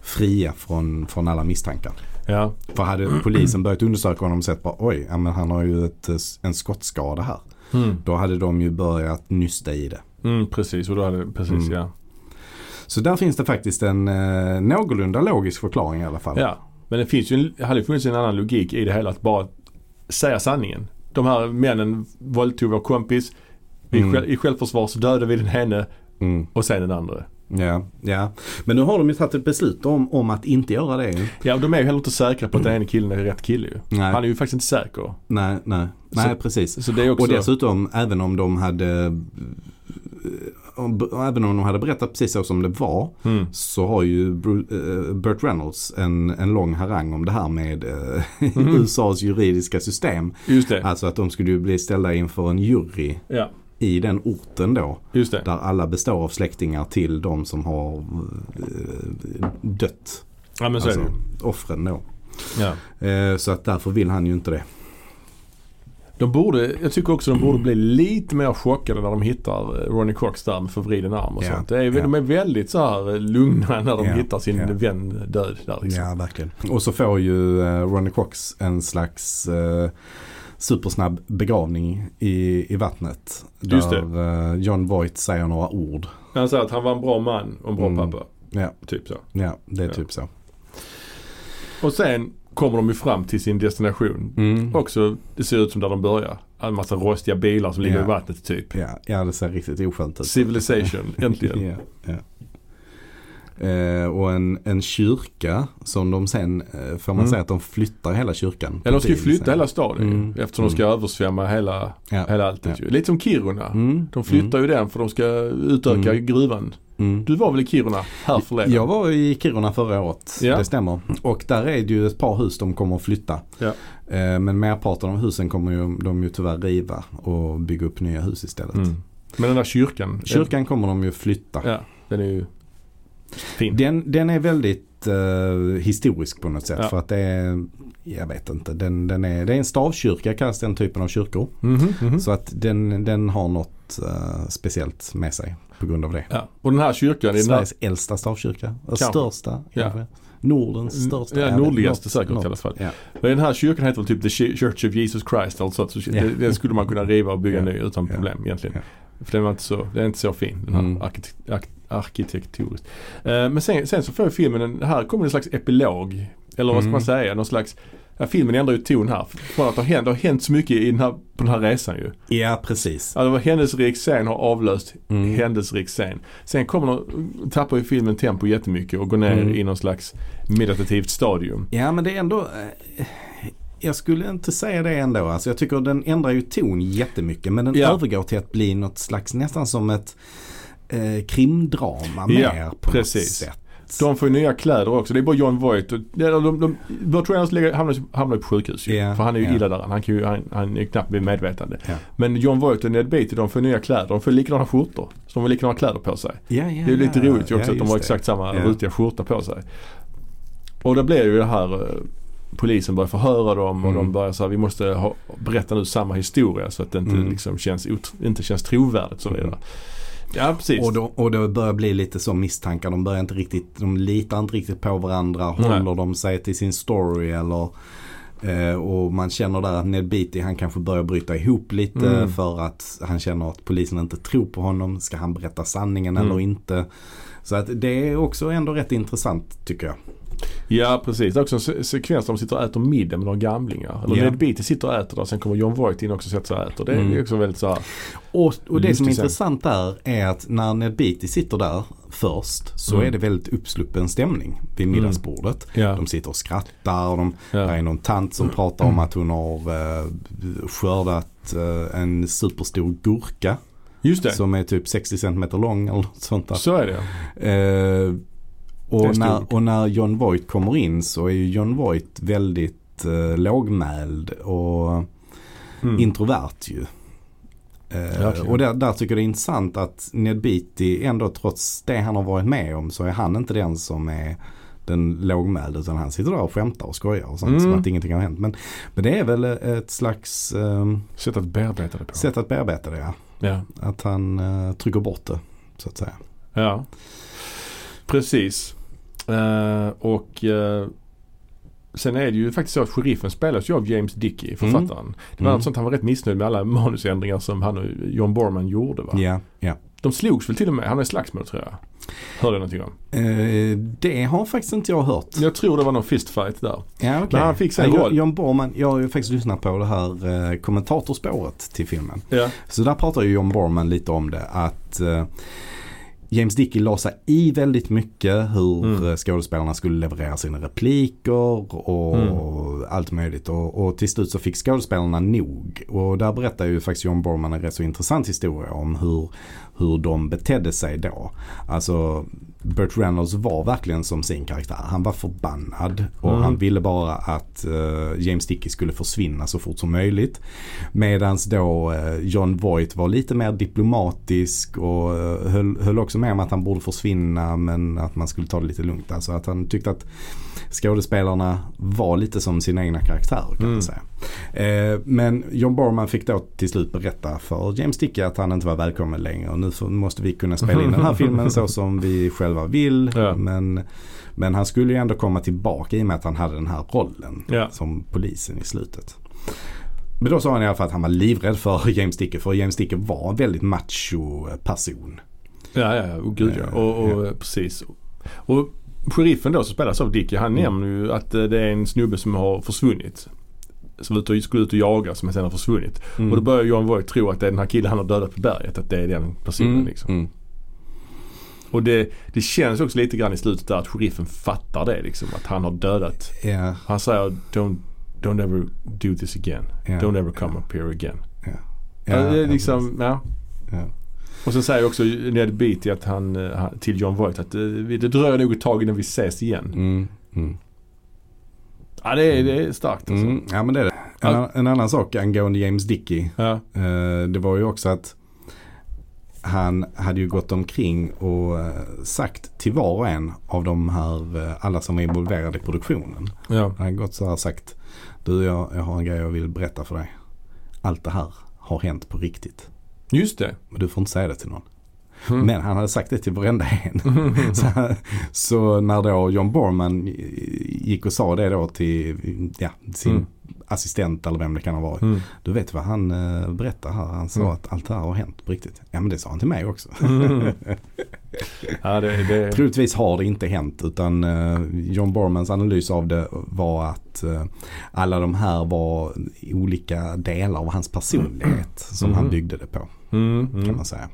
B: fria från, från alla misstankar.
A: ja.
B: För hade polisen börjat undersöka honom och sett bara oj, ja, men han har ju ett, eh, en skottskada här.
A: Mm.
B: Då hade de ju börjat nysta i det.
A: Mm, precis, och då hade, precis
B: Mm.
A: ja.
B: Så där finns det faktiskt en eh, någorlunda logisk förklaring i alla fall.
A: Ja, men det finns ju en, det hade ju funnits en annan logik i det hela att bara säga sanningen. De här männen våldtog vår kompis. I,
B: Mm.
A: själv, I självförsvar så dödade vi den henne
B: Mm,
A: och sen den andra.
B: ja, ja. Men nu har de ju tagit ett beslut om, om att inte göra det. ju.
A: Ja, och de är ju heller inte säkra på att den ene killen är rätt kille ju.
B: Nej,
A: Han är ju faktiskt inte säker.
B: nej, nej. nej precis.
A: Så det är också...
B: Och dessutom även om de hade om, även om de hade berättat precis så som det var
A: mm.
B: så har ju Bru- eh, Burt Reynolds en, en lång harang om det här med eh,
A: Mm.
B: USAs juridiska system.
A: Just det.
B: Alltså att de skulle ju bli ställda inför en jury
A: Ja,
B: i den orten då.
A: just det.
B: Där alla består av släktingar till de som har eh, dött.
A: Ja, men så är det
B: Alltså
A: ju.
B: offren då.
A: ja.
B: Eh, så att därför vill han ju inte det.
A: De borde, jag tycker också de borde bli lite mer chockade när de hittar eh, Ronnie Cox där med förvriden arm och
B: Ja,
A: sånt. Det är,
B: ja.
A: De är väldigt så här eh, lugna när de
B: Ja,
A: hittar sin
B: ja.
A: vän död där liksom.
B: verkligen. Och så får ju eh, Ronnie Cox en slags eh, supersnabb begravning i, i vattnet. Där
A: Just
B: Eh, John Voight säger några ord.
A: Han säger att han var en bra man och en bra
B: Mm.
A: pappa.
B: Ja,
A: Typ så.
B: ja det är
A: Ja.
B: typ så.
A: Och sen kommer de ju fram till sin destination.
B: Mm.
A: Också, det ser ut som där de börjar. En massa rostiga bilar som ligger
B: Ja.
A: i vattnet typ.
B: Ja, ja, det ser riktigt oskönt ut.
A: Civilization, äntligen.
B: Ja, ja. Eh, och en, en kyrka som de sen, eh, får man
A: Mm.
B: säga att de flyttar hela kyrkan.
A: Ja, de ska ju
B: Till,
A: flytta
B: sen.
A: hela staden ju,
B: Mm.
A: eftersom de ska översvämma hela,
B: Ja.
A: hela allt.
B: Ja.
A: ju. Lite som Kiruna.
B: Mm.
A: De flyttar ju den för de ska utöka
B: Mm.
A: gruvan.
B: Mm.
A: Du var väl i Kiruna härförleden?
B: Jag var i Kiruna förra året,
A: Ja.
B: det stämmer. Och där är det ju ett par hus de kommer att flytta.
A: Ja.
B: Eh, Men merparten av husen kommer ju, de ju tyvärr riva och bygga upp nya hus istället.
A: Mm. Men den där kyrkan.
B: Kyrkan kommer de ju flytta.
A: Ja, den är ju fin.
B: Den, den är väldigt eh, historisk på något sätt.
A: Ja.
B: För att det är, jag vet inte, den, den är, det är en stavkyrka kallas den typen av kyrkor.
A: Mhm, mhm.
B: Så att den, den har något eh, speciellt med sig på grund av det.
A: Ja. Och den här kyrkan, är den här,
B: Sveriges äldsta stavkyrka. Och
A: Kanske.
B: Största
A: Ja.
B: kanske. Nordens största.
A: ja,
B: jag vet,
A: nordligaste
B: något-
A: säkert i
B: något.
A: alla fall.
B: Ja.
A: den här kyrkan heter väl typ The Church of Jesus Christ eller så. att- så
B: Ja.
A: den- Den skulle man kunna riva och bygga
B: Ja.
A: ny utan
B: Ja.
A: problem egentligen. För den var inte så, den är inte så fin den här
B: Mm.
A: arkitekt, ark, arkitektoriskt. Eh, men sen, sen så får filmen, en, här kommer en slags epilog. Eller vad ska
B: Mm.
A: man säga, någon slags, ja, filmen ändrar ju ton här. Från att det har hänt, det har hänt så mycket i den här, på den här resan ju.
B: Ja, precis.
A: Alltså vad händelserik scen har avlöst
B: Mm.
A: händelserik scen. Sen kommer de, tappar ju filmen tempo jättemycket och går ner
B: Mm.
A: i någon slags meditativt stadium.
B: Ja, men det är ändå... eh, Jag skulle inte säga det ändå. Alltså, jag tycker den ändrar ju ton jättemycket. Men den
A: Ja.
B: övergår till att bli något slags nästan som ett eh, krimdrama
A: Ja,
B: mer på
A: precis.
B: något sätt.
A: De får ju nya kläder också. Det är bara John Voight och, de, de, de, de tror jag att lägger- hamnar, hamnar på sjukhus ju.
B: Ja,
A: För han är ju
B: ja.
A: illa däran. Han, kan ju, han, han är knappt vid medvetande.
B: Ja.
A: Men John Voight och Ned Beatty de får nya kläder. De får likadana skjortor. Så de har likadana kläder på sig.
B: Ja, ja,
A: Det är ju lite
B: ja.
A: roligt ju
B: Ja,
A: också att de
B: just
A: har
B: det.
A: exakt samma
B: Ja.
A: rutiga skjorta på sig. Och det blir ju det här eh, Polisen börjar förhöra dem och
B: Mm.
A: de börjar så här, vi måste ha, berätta nu samma historia så att det inte,
B: Mm.
A: liksom känns, ot- inte känns trovärdigt. Så vidare.
B: Mm.
A: Ja precis.
B: Och då, och då börjar bli lite så misstankar. De börjar inte riktigt, de litar inte riktigt på varandra.
A: Nej.
B: Håller de sig till sin story eller eh, och man känner där att Ned Beatty han kanske börjar bryta ihop lite
A: Mm.
B: för att han känner att polisen inte tror på honom. Ska han berätta sanningen
A: Mm.
B: eller inte? Så att det är också ändå rätt intressant tycker jag.
A: Ja precis. Det är också en se- sekvens där de sitter och äter middag med några gamlingar. Eller
B: Ja.
A: Ned Beatty sitter och äter där. Sen kommer John Voight in också och sätter sig och äter. Det är
B: Mm.
A: ju också väldigt så här.
B: Och, och det
A: Just
B: som är
A: det, sen.
B: intressant där är att när Ned Beatty sitter där först så
A: Mm.
B: är det väldigt uppsluppen stämning vid middagsbordet.
A: Ja.
B: De sitter och skrattar och de,
A: Ja. Mm.
B: det är någon tant som pratar om att hon har eh, skördat eh, en superstor gurka
A: Just det. Så,
B: som är typ 60 cm lång eller något sånt där.
A: är det.
B: Eh,
A: Det är
B: och,
A: en
B: när,
A: stor-
B: och när John Voight kommer in så är ju John Voight väldigt eh, lågmäld och
A: Mm.
B: introvert ju. Eh,
A: Verkligen.
B: och där, där tycker jag det är intressant att Ned Beatty ändå trots det han har varit med om så är han inte den som är den lågmälde utan han sitter där och skämtar och skojar och sånt
A: Mm.
B: som att ingenting har hänt. Men, men det är väl eh, ett slags eh,
A: Sätt att bearbeta det på.
B: sätt att bearbeta det. Ja.
A: Ja.
B: Att han eh, trycker bort det så att säga.
A: ja. Precis. Eh, och eh, sen är det ju faktiskt så att sheriffen spelas ju av James Dickey, författaren. Det var
B: Mm.
A: något sånt han var rätt missnöjd med alla manusändringar som han och John Borman gjorde va.
B: Ja, ja.
A: De slogs väl till och med. Han är i slagsmål tror jag. Hörde jag någonting om.
B: Eh, det har faktiskt inte jag hört.
A: Jag tror det var någon fistfight där.
B: Ja,
A: Men han fick sig en
B: Ja,
A: roll.
B: John Borman, jag har ju faktiskt lyssnat på det här eh, kommentatorspåret till filmen.
A: Ja.
B: Så där pratar ju John Borman lite om det att eh, James Dickey la sig i väldigt mycket hur
A: Mm.
B: eh, skådespelarna skulle leverera sina repliker och
A: Mm.
B: allt möjligt. Och, och till slut så fick skådespelarna nog. Och där berättar ju faktiskt John Borman en rätt så intressant historia om hur, hur de betedde sig då. Alltså Burt Reynolds var verkligen som sin karaktär. Han var förbannad och
A: Mm.
B: han ville bara att eh, James Dickey skulle försvinna så fort som möjligt. Medan då eh, John Voight var lite mer diplomatisk och eh, höll, höll också med om att han borde försvinna men att man skulle ta det lite lugnt. Alltså att han tyckte att skådespelarna var lite som sina egna karaktärer kan
A: Mm.
B: man säga. Eh, men John Borman fick då till slut berätta för James Dickey att han inte var välkommen längre. Och nu får- måste vi kunna spela in den här filmen så som vi själva vill.
A: Ja.
B: Men, men han skulle ju ändå komma tillbaka i och med att han hade den här rollen
A: Ja.
B: som polisen i slutet. Men då sa han i alla fall att han var livrädd för James Dicker för James Dicker var en väldigt macho person.
A: Ja, ja, ja. Och gud ja.
B: Eh,
A: Och, och, Precis. Och sheriffen då som spelas av Dicky han
B: Mm.
A: nämner ju att eh, det är en snubbe som har försvunnit. Som ut och, skulle ut och jaga som sen har försvunnit.
B: Mm.
A: Och då Mm. börjar John Voight tro att det är den här killen han har dödat på berget. Att det är den personen liksom.
B: Mm.
A: Och det, det känns också lite grann i slutet där att sheriffen fattar det liksom. Att han har dödat.
B: Ja,
A: Han säger don't, don't ever do this again.
B: ja,
A: Don't ever come up here again.
B: ja,
A: Ja, det är
B: ja,
A: liksom, ja.
B: Ja.
A: Och sen säger också Ned Beatty att han, eh, han- till John Voight att eh, vi- det dröjer nog ett tag innan vi ses igen.
B: Mm, mm.
A: Ja det är, det är starkt alltså.
B: Mm, ja men det är det. En,
A: Allt-
B: en annan sak angående James Dickey.
A: Ja.
B: Eh, det var ju också att han hade ju gått omkring och eh, sagt till var och en av de här, eh, alla som var involverade i produktionen.
A: Ja.
B: Han hade gått så här och sagt. Du jag, jag har en grej jag vill berätta för dig. Allt det här har hänt på riktigt.
A: Just det.
B: Men du får inte säga det till någon.
A: Mm.
B: Men han hade sagt det till varenda en. så, han- så när då John Borman eh, gick och sa det då till ja, sin
A: Mm.
B: assistent eller vem det kan ha varit.
A: Mm.
B: Du vet vad han eh, berättar här. Han sa
A: Mm.
B: att allt det här har hänt på riktigt. Ja men det sa han till mig också.
A: Mm. Ja det, det
B: Troligtvis har det inte hänt utan eh, John Bormans analys av det var att eh, alla de här var olika delar av hans personlighet som
A: Mhm.
B: han byggde det på kan
A: mm, mm.
B: man säga.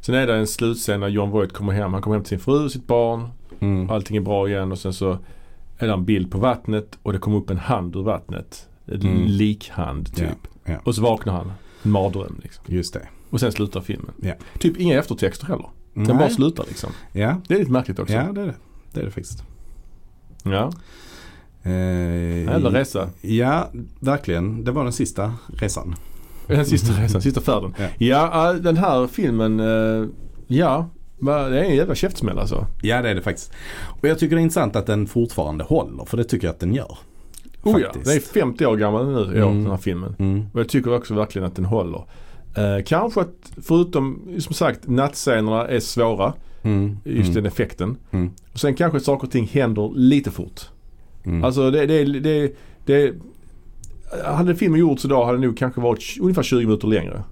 A: Sen är det en slutscen när John Voight kommer hem. Han kommer hem till sin fru och sitt barn.
B: Mm.
A: Allting är bra igen och sen så är det en bild på vattnet och det kommer upp en hand ur vattnet. En
B: Mm.
A: likhand typ.
B: Ja, ja.
A: Och så vaknar han. En mardröm liksom.
B: Just det.
A: Och sen slutar filmen.
B: Ja.
A: Typ inga eftertexter heller. Den
B: Nej.
A: bara slutar liksom.
B: Ja,
A: Det är lite märkligt också.
B: ja det, är det. det är det faktiskt.
A: Ja.
B: Eh,
A: Eller resa.
B: ja, verkligen. Det var den sista resan.
A: Den sista resan, sista färden.
B: Ja.
A: Ja, all- den här filmen, eh, ja. va- Det är en jävla käftsmäll alltså.
B: Ja det är det faktiskt. Och jag tycker det är intressant att den fortfarande håller för det tycker jag att den gör.
A: Oh ja,
B: Faktiskt.
A: den är 50 år gammal nu i år,
B: Mm.
A: den här filmen.
B: Mm.
A: Och jag tycker också verkligen att den håller. Eh, kanske att förutom, som sagt, nattscenerna är svåra.
B: Mm.
A: Just
B: mm.
A: den effekten.
B: Mm.
A: Och sen kanske saker och ting händer lite fort.
B: Mm.
A: Alltså det, det, det, det hade filmen gjorts idag hade det nog kanske varit tj- ungefär 20 minuter längre.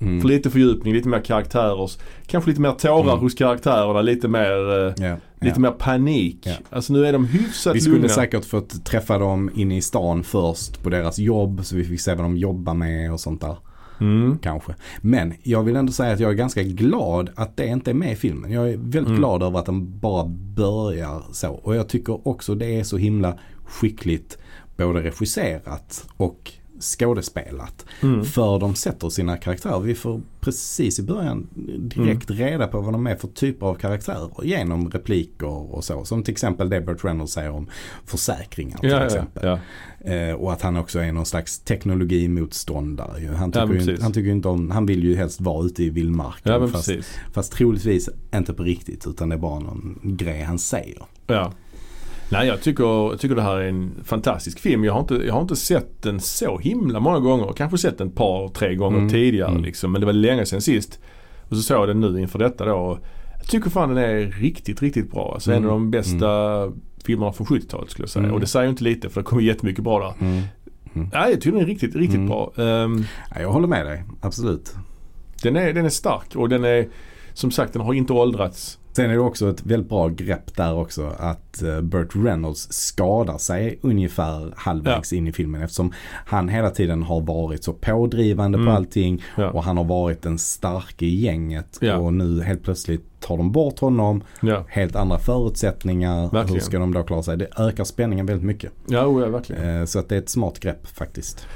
B: Mm.
A: För lite fördjupning, lite mer karaktärer. Kanske lite mer tårar
B: Mm.
A: hos karaktärerna, lite mer, eh,
B: Ja, ja.
A: lite mer panik.
B: Ja.
A: Alltså nu är de hyfsat
B: Vi skulle
A: lugna.
B: säkert fått träffa dem inne i stan först på deras jobb så vi fick se vad de jobbar med och sånt där
A: Mm.
B: kanske. Men jag vill ändå säga att jag är ganska glad att det inte är med i filmen. Jag är väldigt
A: Mm.
B: glad över att den bara börjar så. Och jag tycker också det är så himla skickligt både regisserat och skådespelat.
A: Mm.
B: För de sätter sina karaktärer. Vi får precis i början direkt
A: Mm.
B: reda på vad de är för typer av karaktärer genom repliker och så. Som till exempel det Burt Reynolds säger om försäkringar till
A: Ja, ja,
B: exempel.
A: ja.
B: Eh, och att han också är någon slags teknologimotståndare. ju. Han tycker,
A: men
B: ju, inte-
A: precis.
B: han tycker ju inte om, han vill ju helst vara ute i vildmarken.
A: ja men
B: fast,
A: precis.
B: fast troligtvis inte på riktigt utan det är bara någon grej han säger.
A: Ja. Nej jag tycker, jag tycker det här är en fantastisk film. Jag har, inte, jag har inte sett den så himla många gånger. Kanske sett den ett par, tre gånger
B: Mm.
A: tidigare
B: Mm.
A: liksom. Men det var länge sedan sist. Och så såg jag den nu inför detta då. Jag tycker fan den är riktigt, riktigt bra. Alltså en
B: Mm.
A: av de bästa filmerna från 70-talet skulle jag säga.
B: Mm.
A: Och det säger ju inte lite för det kommer jättemycket bra där.
B: Mm.
A: Nej jag tycker den är riktigt, riktigt
B: Mm.
A: bra. Ehm,
B: Ja, jag håller med dig, absolut.
A: den, är, den är stark och den är som sagt den har inte åldrats.
B: Sen är det också ett väldigt bra grepp där också att eh, Burt Reynolds skadar sig ungefär halvvägs in i filmen eftersom han hela tiden har varit så pådrivande på
A: Mm.
B: allting
A: Ja.
B: och han har varit den starke i gänget
A: Ja.
B: och nu helt plötsligt tar de bort honom
A: Ja,
B: helt andra förutsättningar.
A: Verkligen.
B: Hur ska de då klara sig? Det ökar spänningen väldigt mycket.
A: ja, oh, ja verkligen.
B: Eh, Så att det är ett smart grepp faktiskt.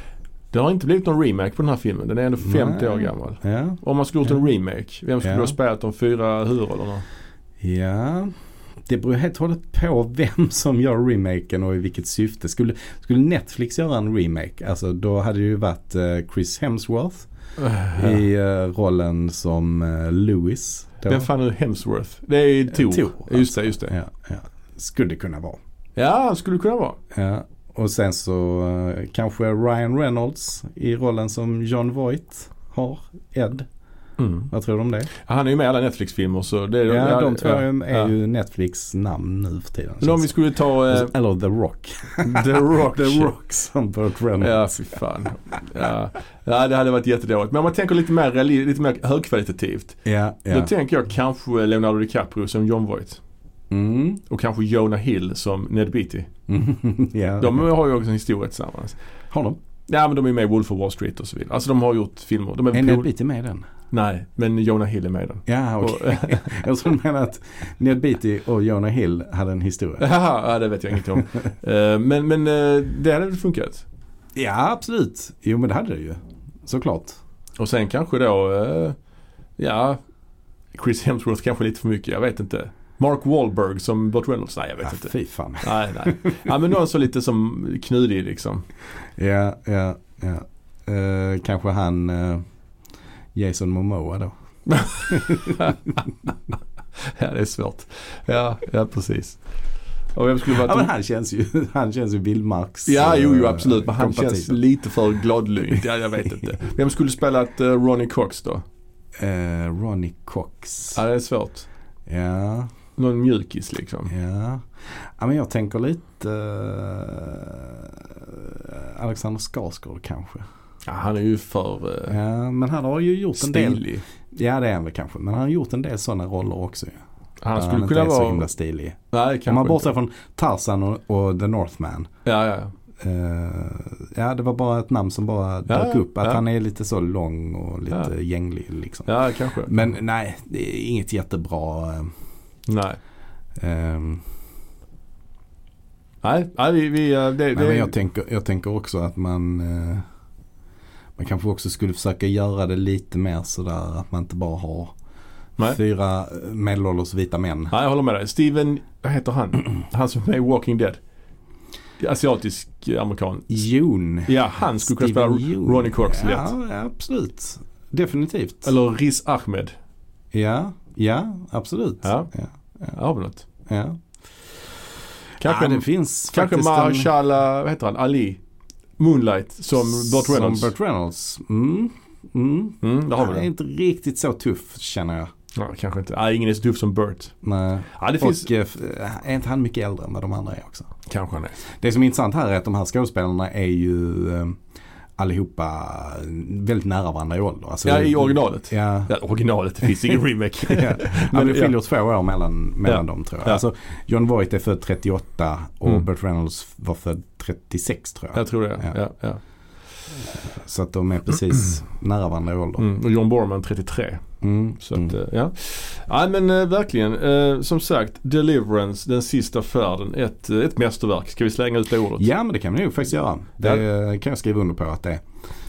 A: Det har inte blivit någon remake på den här filmen. Den är ändå 50 år
B: Nej.
A: gammal.
B: Ja,
A: Om man skulle gjort en remake, vem skulle
B: Ja.
A: ha spelat de fyra huvudrollerna?
B: ja. Det beror helt och hållet på vem som gör remaken och i vilket syfte. Skulle, skulle Netflix göra en remake, alltså då hade det ju varit eh, Chris Hemsworth i eh, rollen som eh, Lewis. då.
A: Vem fan är Hemsworth? Det är Tor.
B: Thor, alltså.
A: Just det, just det.
B: Ja, ja. Skulle det kunna vara.
A: Ja, han skulle kunna vara.
B: Ja. Och sen så eh, kanske Ryan Reynolds i rollen som John Voight har Ed. Vad tror du om det?
A: Mm. Han är ju med i alla Netflix-filmer så det är...
B: Ja,
A: ja,
B: de två
A: ja,
B: är
A: ja.
B: ju Alltså, Netflix namn nu för tiden.
A: Men om vi skulle ta eh,
B: Eller The Rock.
A: The Rock.
B: The Rock som Burt
A: Ja,
B: Reynolds.
A: fy fan. Ja. ja, det hade varit jättedåligt. Men om man tänker lite mer, reali- lite mer högkvalitativt.
B: Ja, ja.
A: Då tänker jag kanske Leonardo DiCaprio som John Voight.
B: Mm.
A: Och kanske Jonah Hill som Ned Beatty.
B: Mm. ja.
A: De har ju också en historia tillsammans.
B: Har de?
A: Ja men de är med i Wolf of Wall Street och så vidare. Alltså de har gjort filmer. De är
B: Är
A: pol-
B: Ned Beatty med i den?
A: Nej, men Jonah Hill är med i den.
B: Ja, okej. jag tror du menar att Ned Beatty och Jonah Hill hade en historia.
A: Haha, ja, det vet jag ingenting om. Eh, men men eh, det hade väl funkat.
B: Ja, absolut. Jo, men det hade det ju. Såklart.
A: Och sen kanske då, eh, ja, Chris Hemsworth kanske lite för mycket, jag vet inte. Mark Wahlberg som Burt Reynolds, nej jag vet
B: Ja,
A: inte.
B: Ah, fy fan.
A: Nej, nej. Ja men någon så lite som knudig liksom.
B: Ja, ja, ja. Eh, kanske han eh, Jason Momoa då.
A: Ja det är svårt. Ja, ja precis. Och vem skulle vara...
B: Ja, men han känns ju, han känns ju Vildmarks...
A: Ja, jo, jo
B: eh,
A: absolut. Men han
B: kompatibel.
A: känns lite för gladlynt. Ja, jag vet inte. Vem skulle spela ett eh, Ronnie Cox då?
B: Eh, Ronnie Cox.
A: Ja, det är svårt.
B: Ja,
A: Någon mjukis liksom.
B: ja. Ja, men jag tänker lite eh, Alexander Skarsgård kanske.
A: Ja, han är ju för eh,
B: Ja, men han har ju gjort en del.
A: stilig.
B: Ja, det är han väl kanske. Men han har gjort en del sådana roller också. ju.
A: Han
B: Där
A: skulle
B: inte
A: kunna
B: är så
A: vara...
B: himla stilig.
A: Nej,
B: Om man
A: kanske
B: bortser
A: inte.
B: från Tarzan och, och The Northman.
A: Ja, ja.
B: Eh, ja, det var bara ett namn som bara dök
A: ja,
B: upp. Att
A: ja.
B: han är lite så lång och lite
A: Ja.
B: gänglig liksom.
A: ja, kanske.
B: Men nej, det är inget jättebra. eh,
A: Nej,
B: eh,
A: nej, nej vi... vi eh, det,
B: nej
A: det,
B: men jag tänker, jag tänker också att man eh, man kanske också skulle försöka göra det lite mer sådär att man inte bara har
A: Nej.
B: fyra eh, medelålders vita män.
A: nej, jag håller med dig. Steven, vad heter han? Han som är med i Walking Dead. Asiatisk eh, amerikan.
B: Jon.
A: Ja, han skulle kunna spela
B: Steven Yeun.
A: Ronnie Cox
B: ja,
A: lätt.
B: ja, absolut. Definitivt.
A: Eller Riz Ahmed.
B: Ja, ja, absolut.
A: Ja.
B: ja,
A: Har vi något?
B: ja.
A: Kanske,
B: ja, det finns
A: kanske
B: faktiskt en-
A: Mahershala, vad heter han, Ali? Moonlight som Burt Reynolds.
B: Som Burt Reynolds. Mm. Mm.
A: Mm, där har vi
B: Han är
A: den.
B: inte riktigt så tuff känner jag.
A: Ja, kanske inte. Nej, ingen är så tuff som Burt.
B: Nej.
A: Ja, det
B: Och
A: finns...
B: eh, f- är inte han mycket äldre än vad de andra är också?
A: Kanske han är.
B: Det som är intressant här är att de här skådespelarna är ju eh, allihopa eh, väldigt nära varandra i ålder. Alltså,
A: Ja, i originalet.
B: Ja.
A: eh, Ja, originalet, det finns ingen remake.
B: Ja. Men det
A: ja.
B: skiljer två år mellan, mellan
A: Ja.
B: dem tror jag.
A: Ja.
B: Alltså, John Voight är född 38 och
A: Mm.
B: Burt Reynolds var född 36 tror jag.
A: Jag tror det. Ja.
B: Ja.
A: Ja,
B: Så att de är precis nära varandra i ålder.
A: Mm. Och John Borman 33.
B: Mm.
A: Så
B: Mm.
A: att, eh, ja. ja men eh, verkligen. Eh, som sagt, Deliverance, den sista färden. Ett, eh, ett mästerverk. Ska vi slänga ut det ordet?
B: Ja men det kan vi nog faktiskt göra. Det eh, kan jag skriva under på att det är.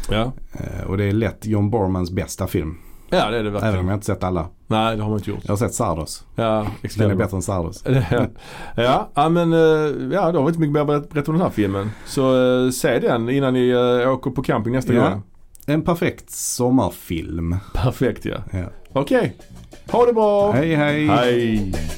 A: Ja,
B: Eh, Och det är lätt John Bormans bästa film.
A: ja det är det
B: Även
A: verkligen.
B: om jag inte sett alla.
A: Nej, det har man inte gjort.
B: Jag har sett Sardos.
A: Ja,
B: Den är
A: Excalibur.
B: bättre än Sardos.
A: ja, ja, men eh, ja, då har vi inte mycket mer att ber- berätta om den här filmen. Så eh, se den innan ni eh, åker på camping nästa
B: Ja.
A: gång.
B: En perfekt sommarfilm.
A: Perfekt ja.
B: Ja.
A: Okej, ha det bra!
B: Hej hej.
A: Hej.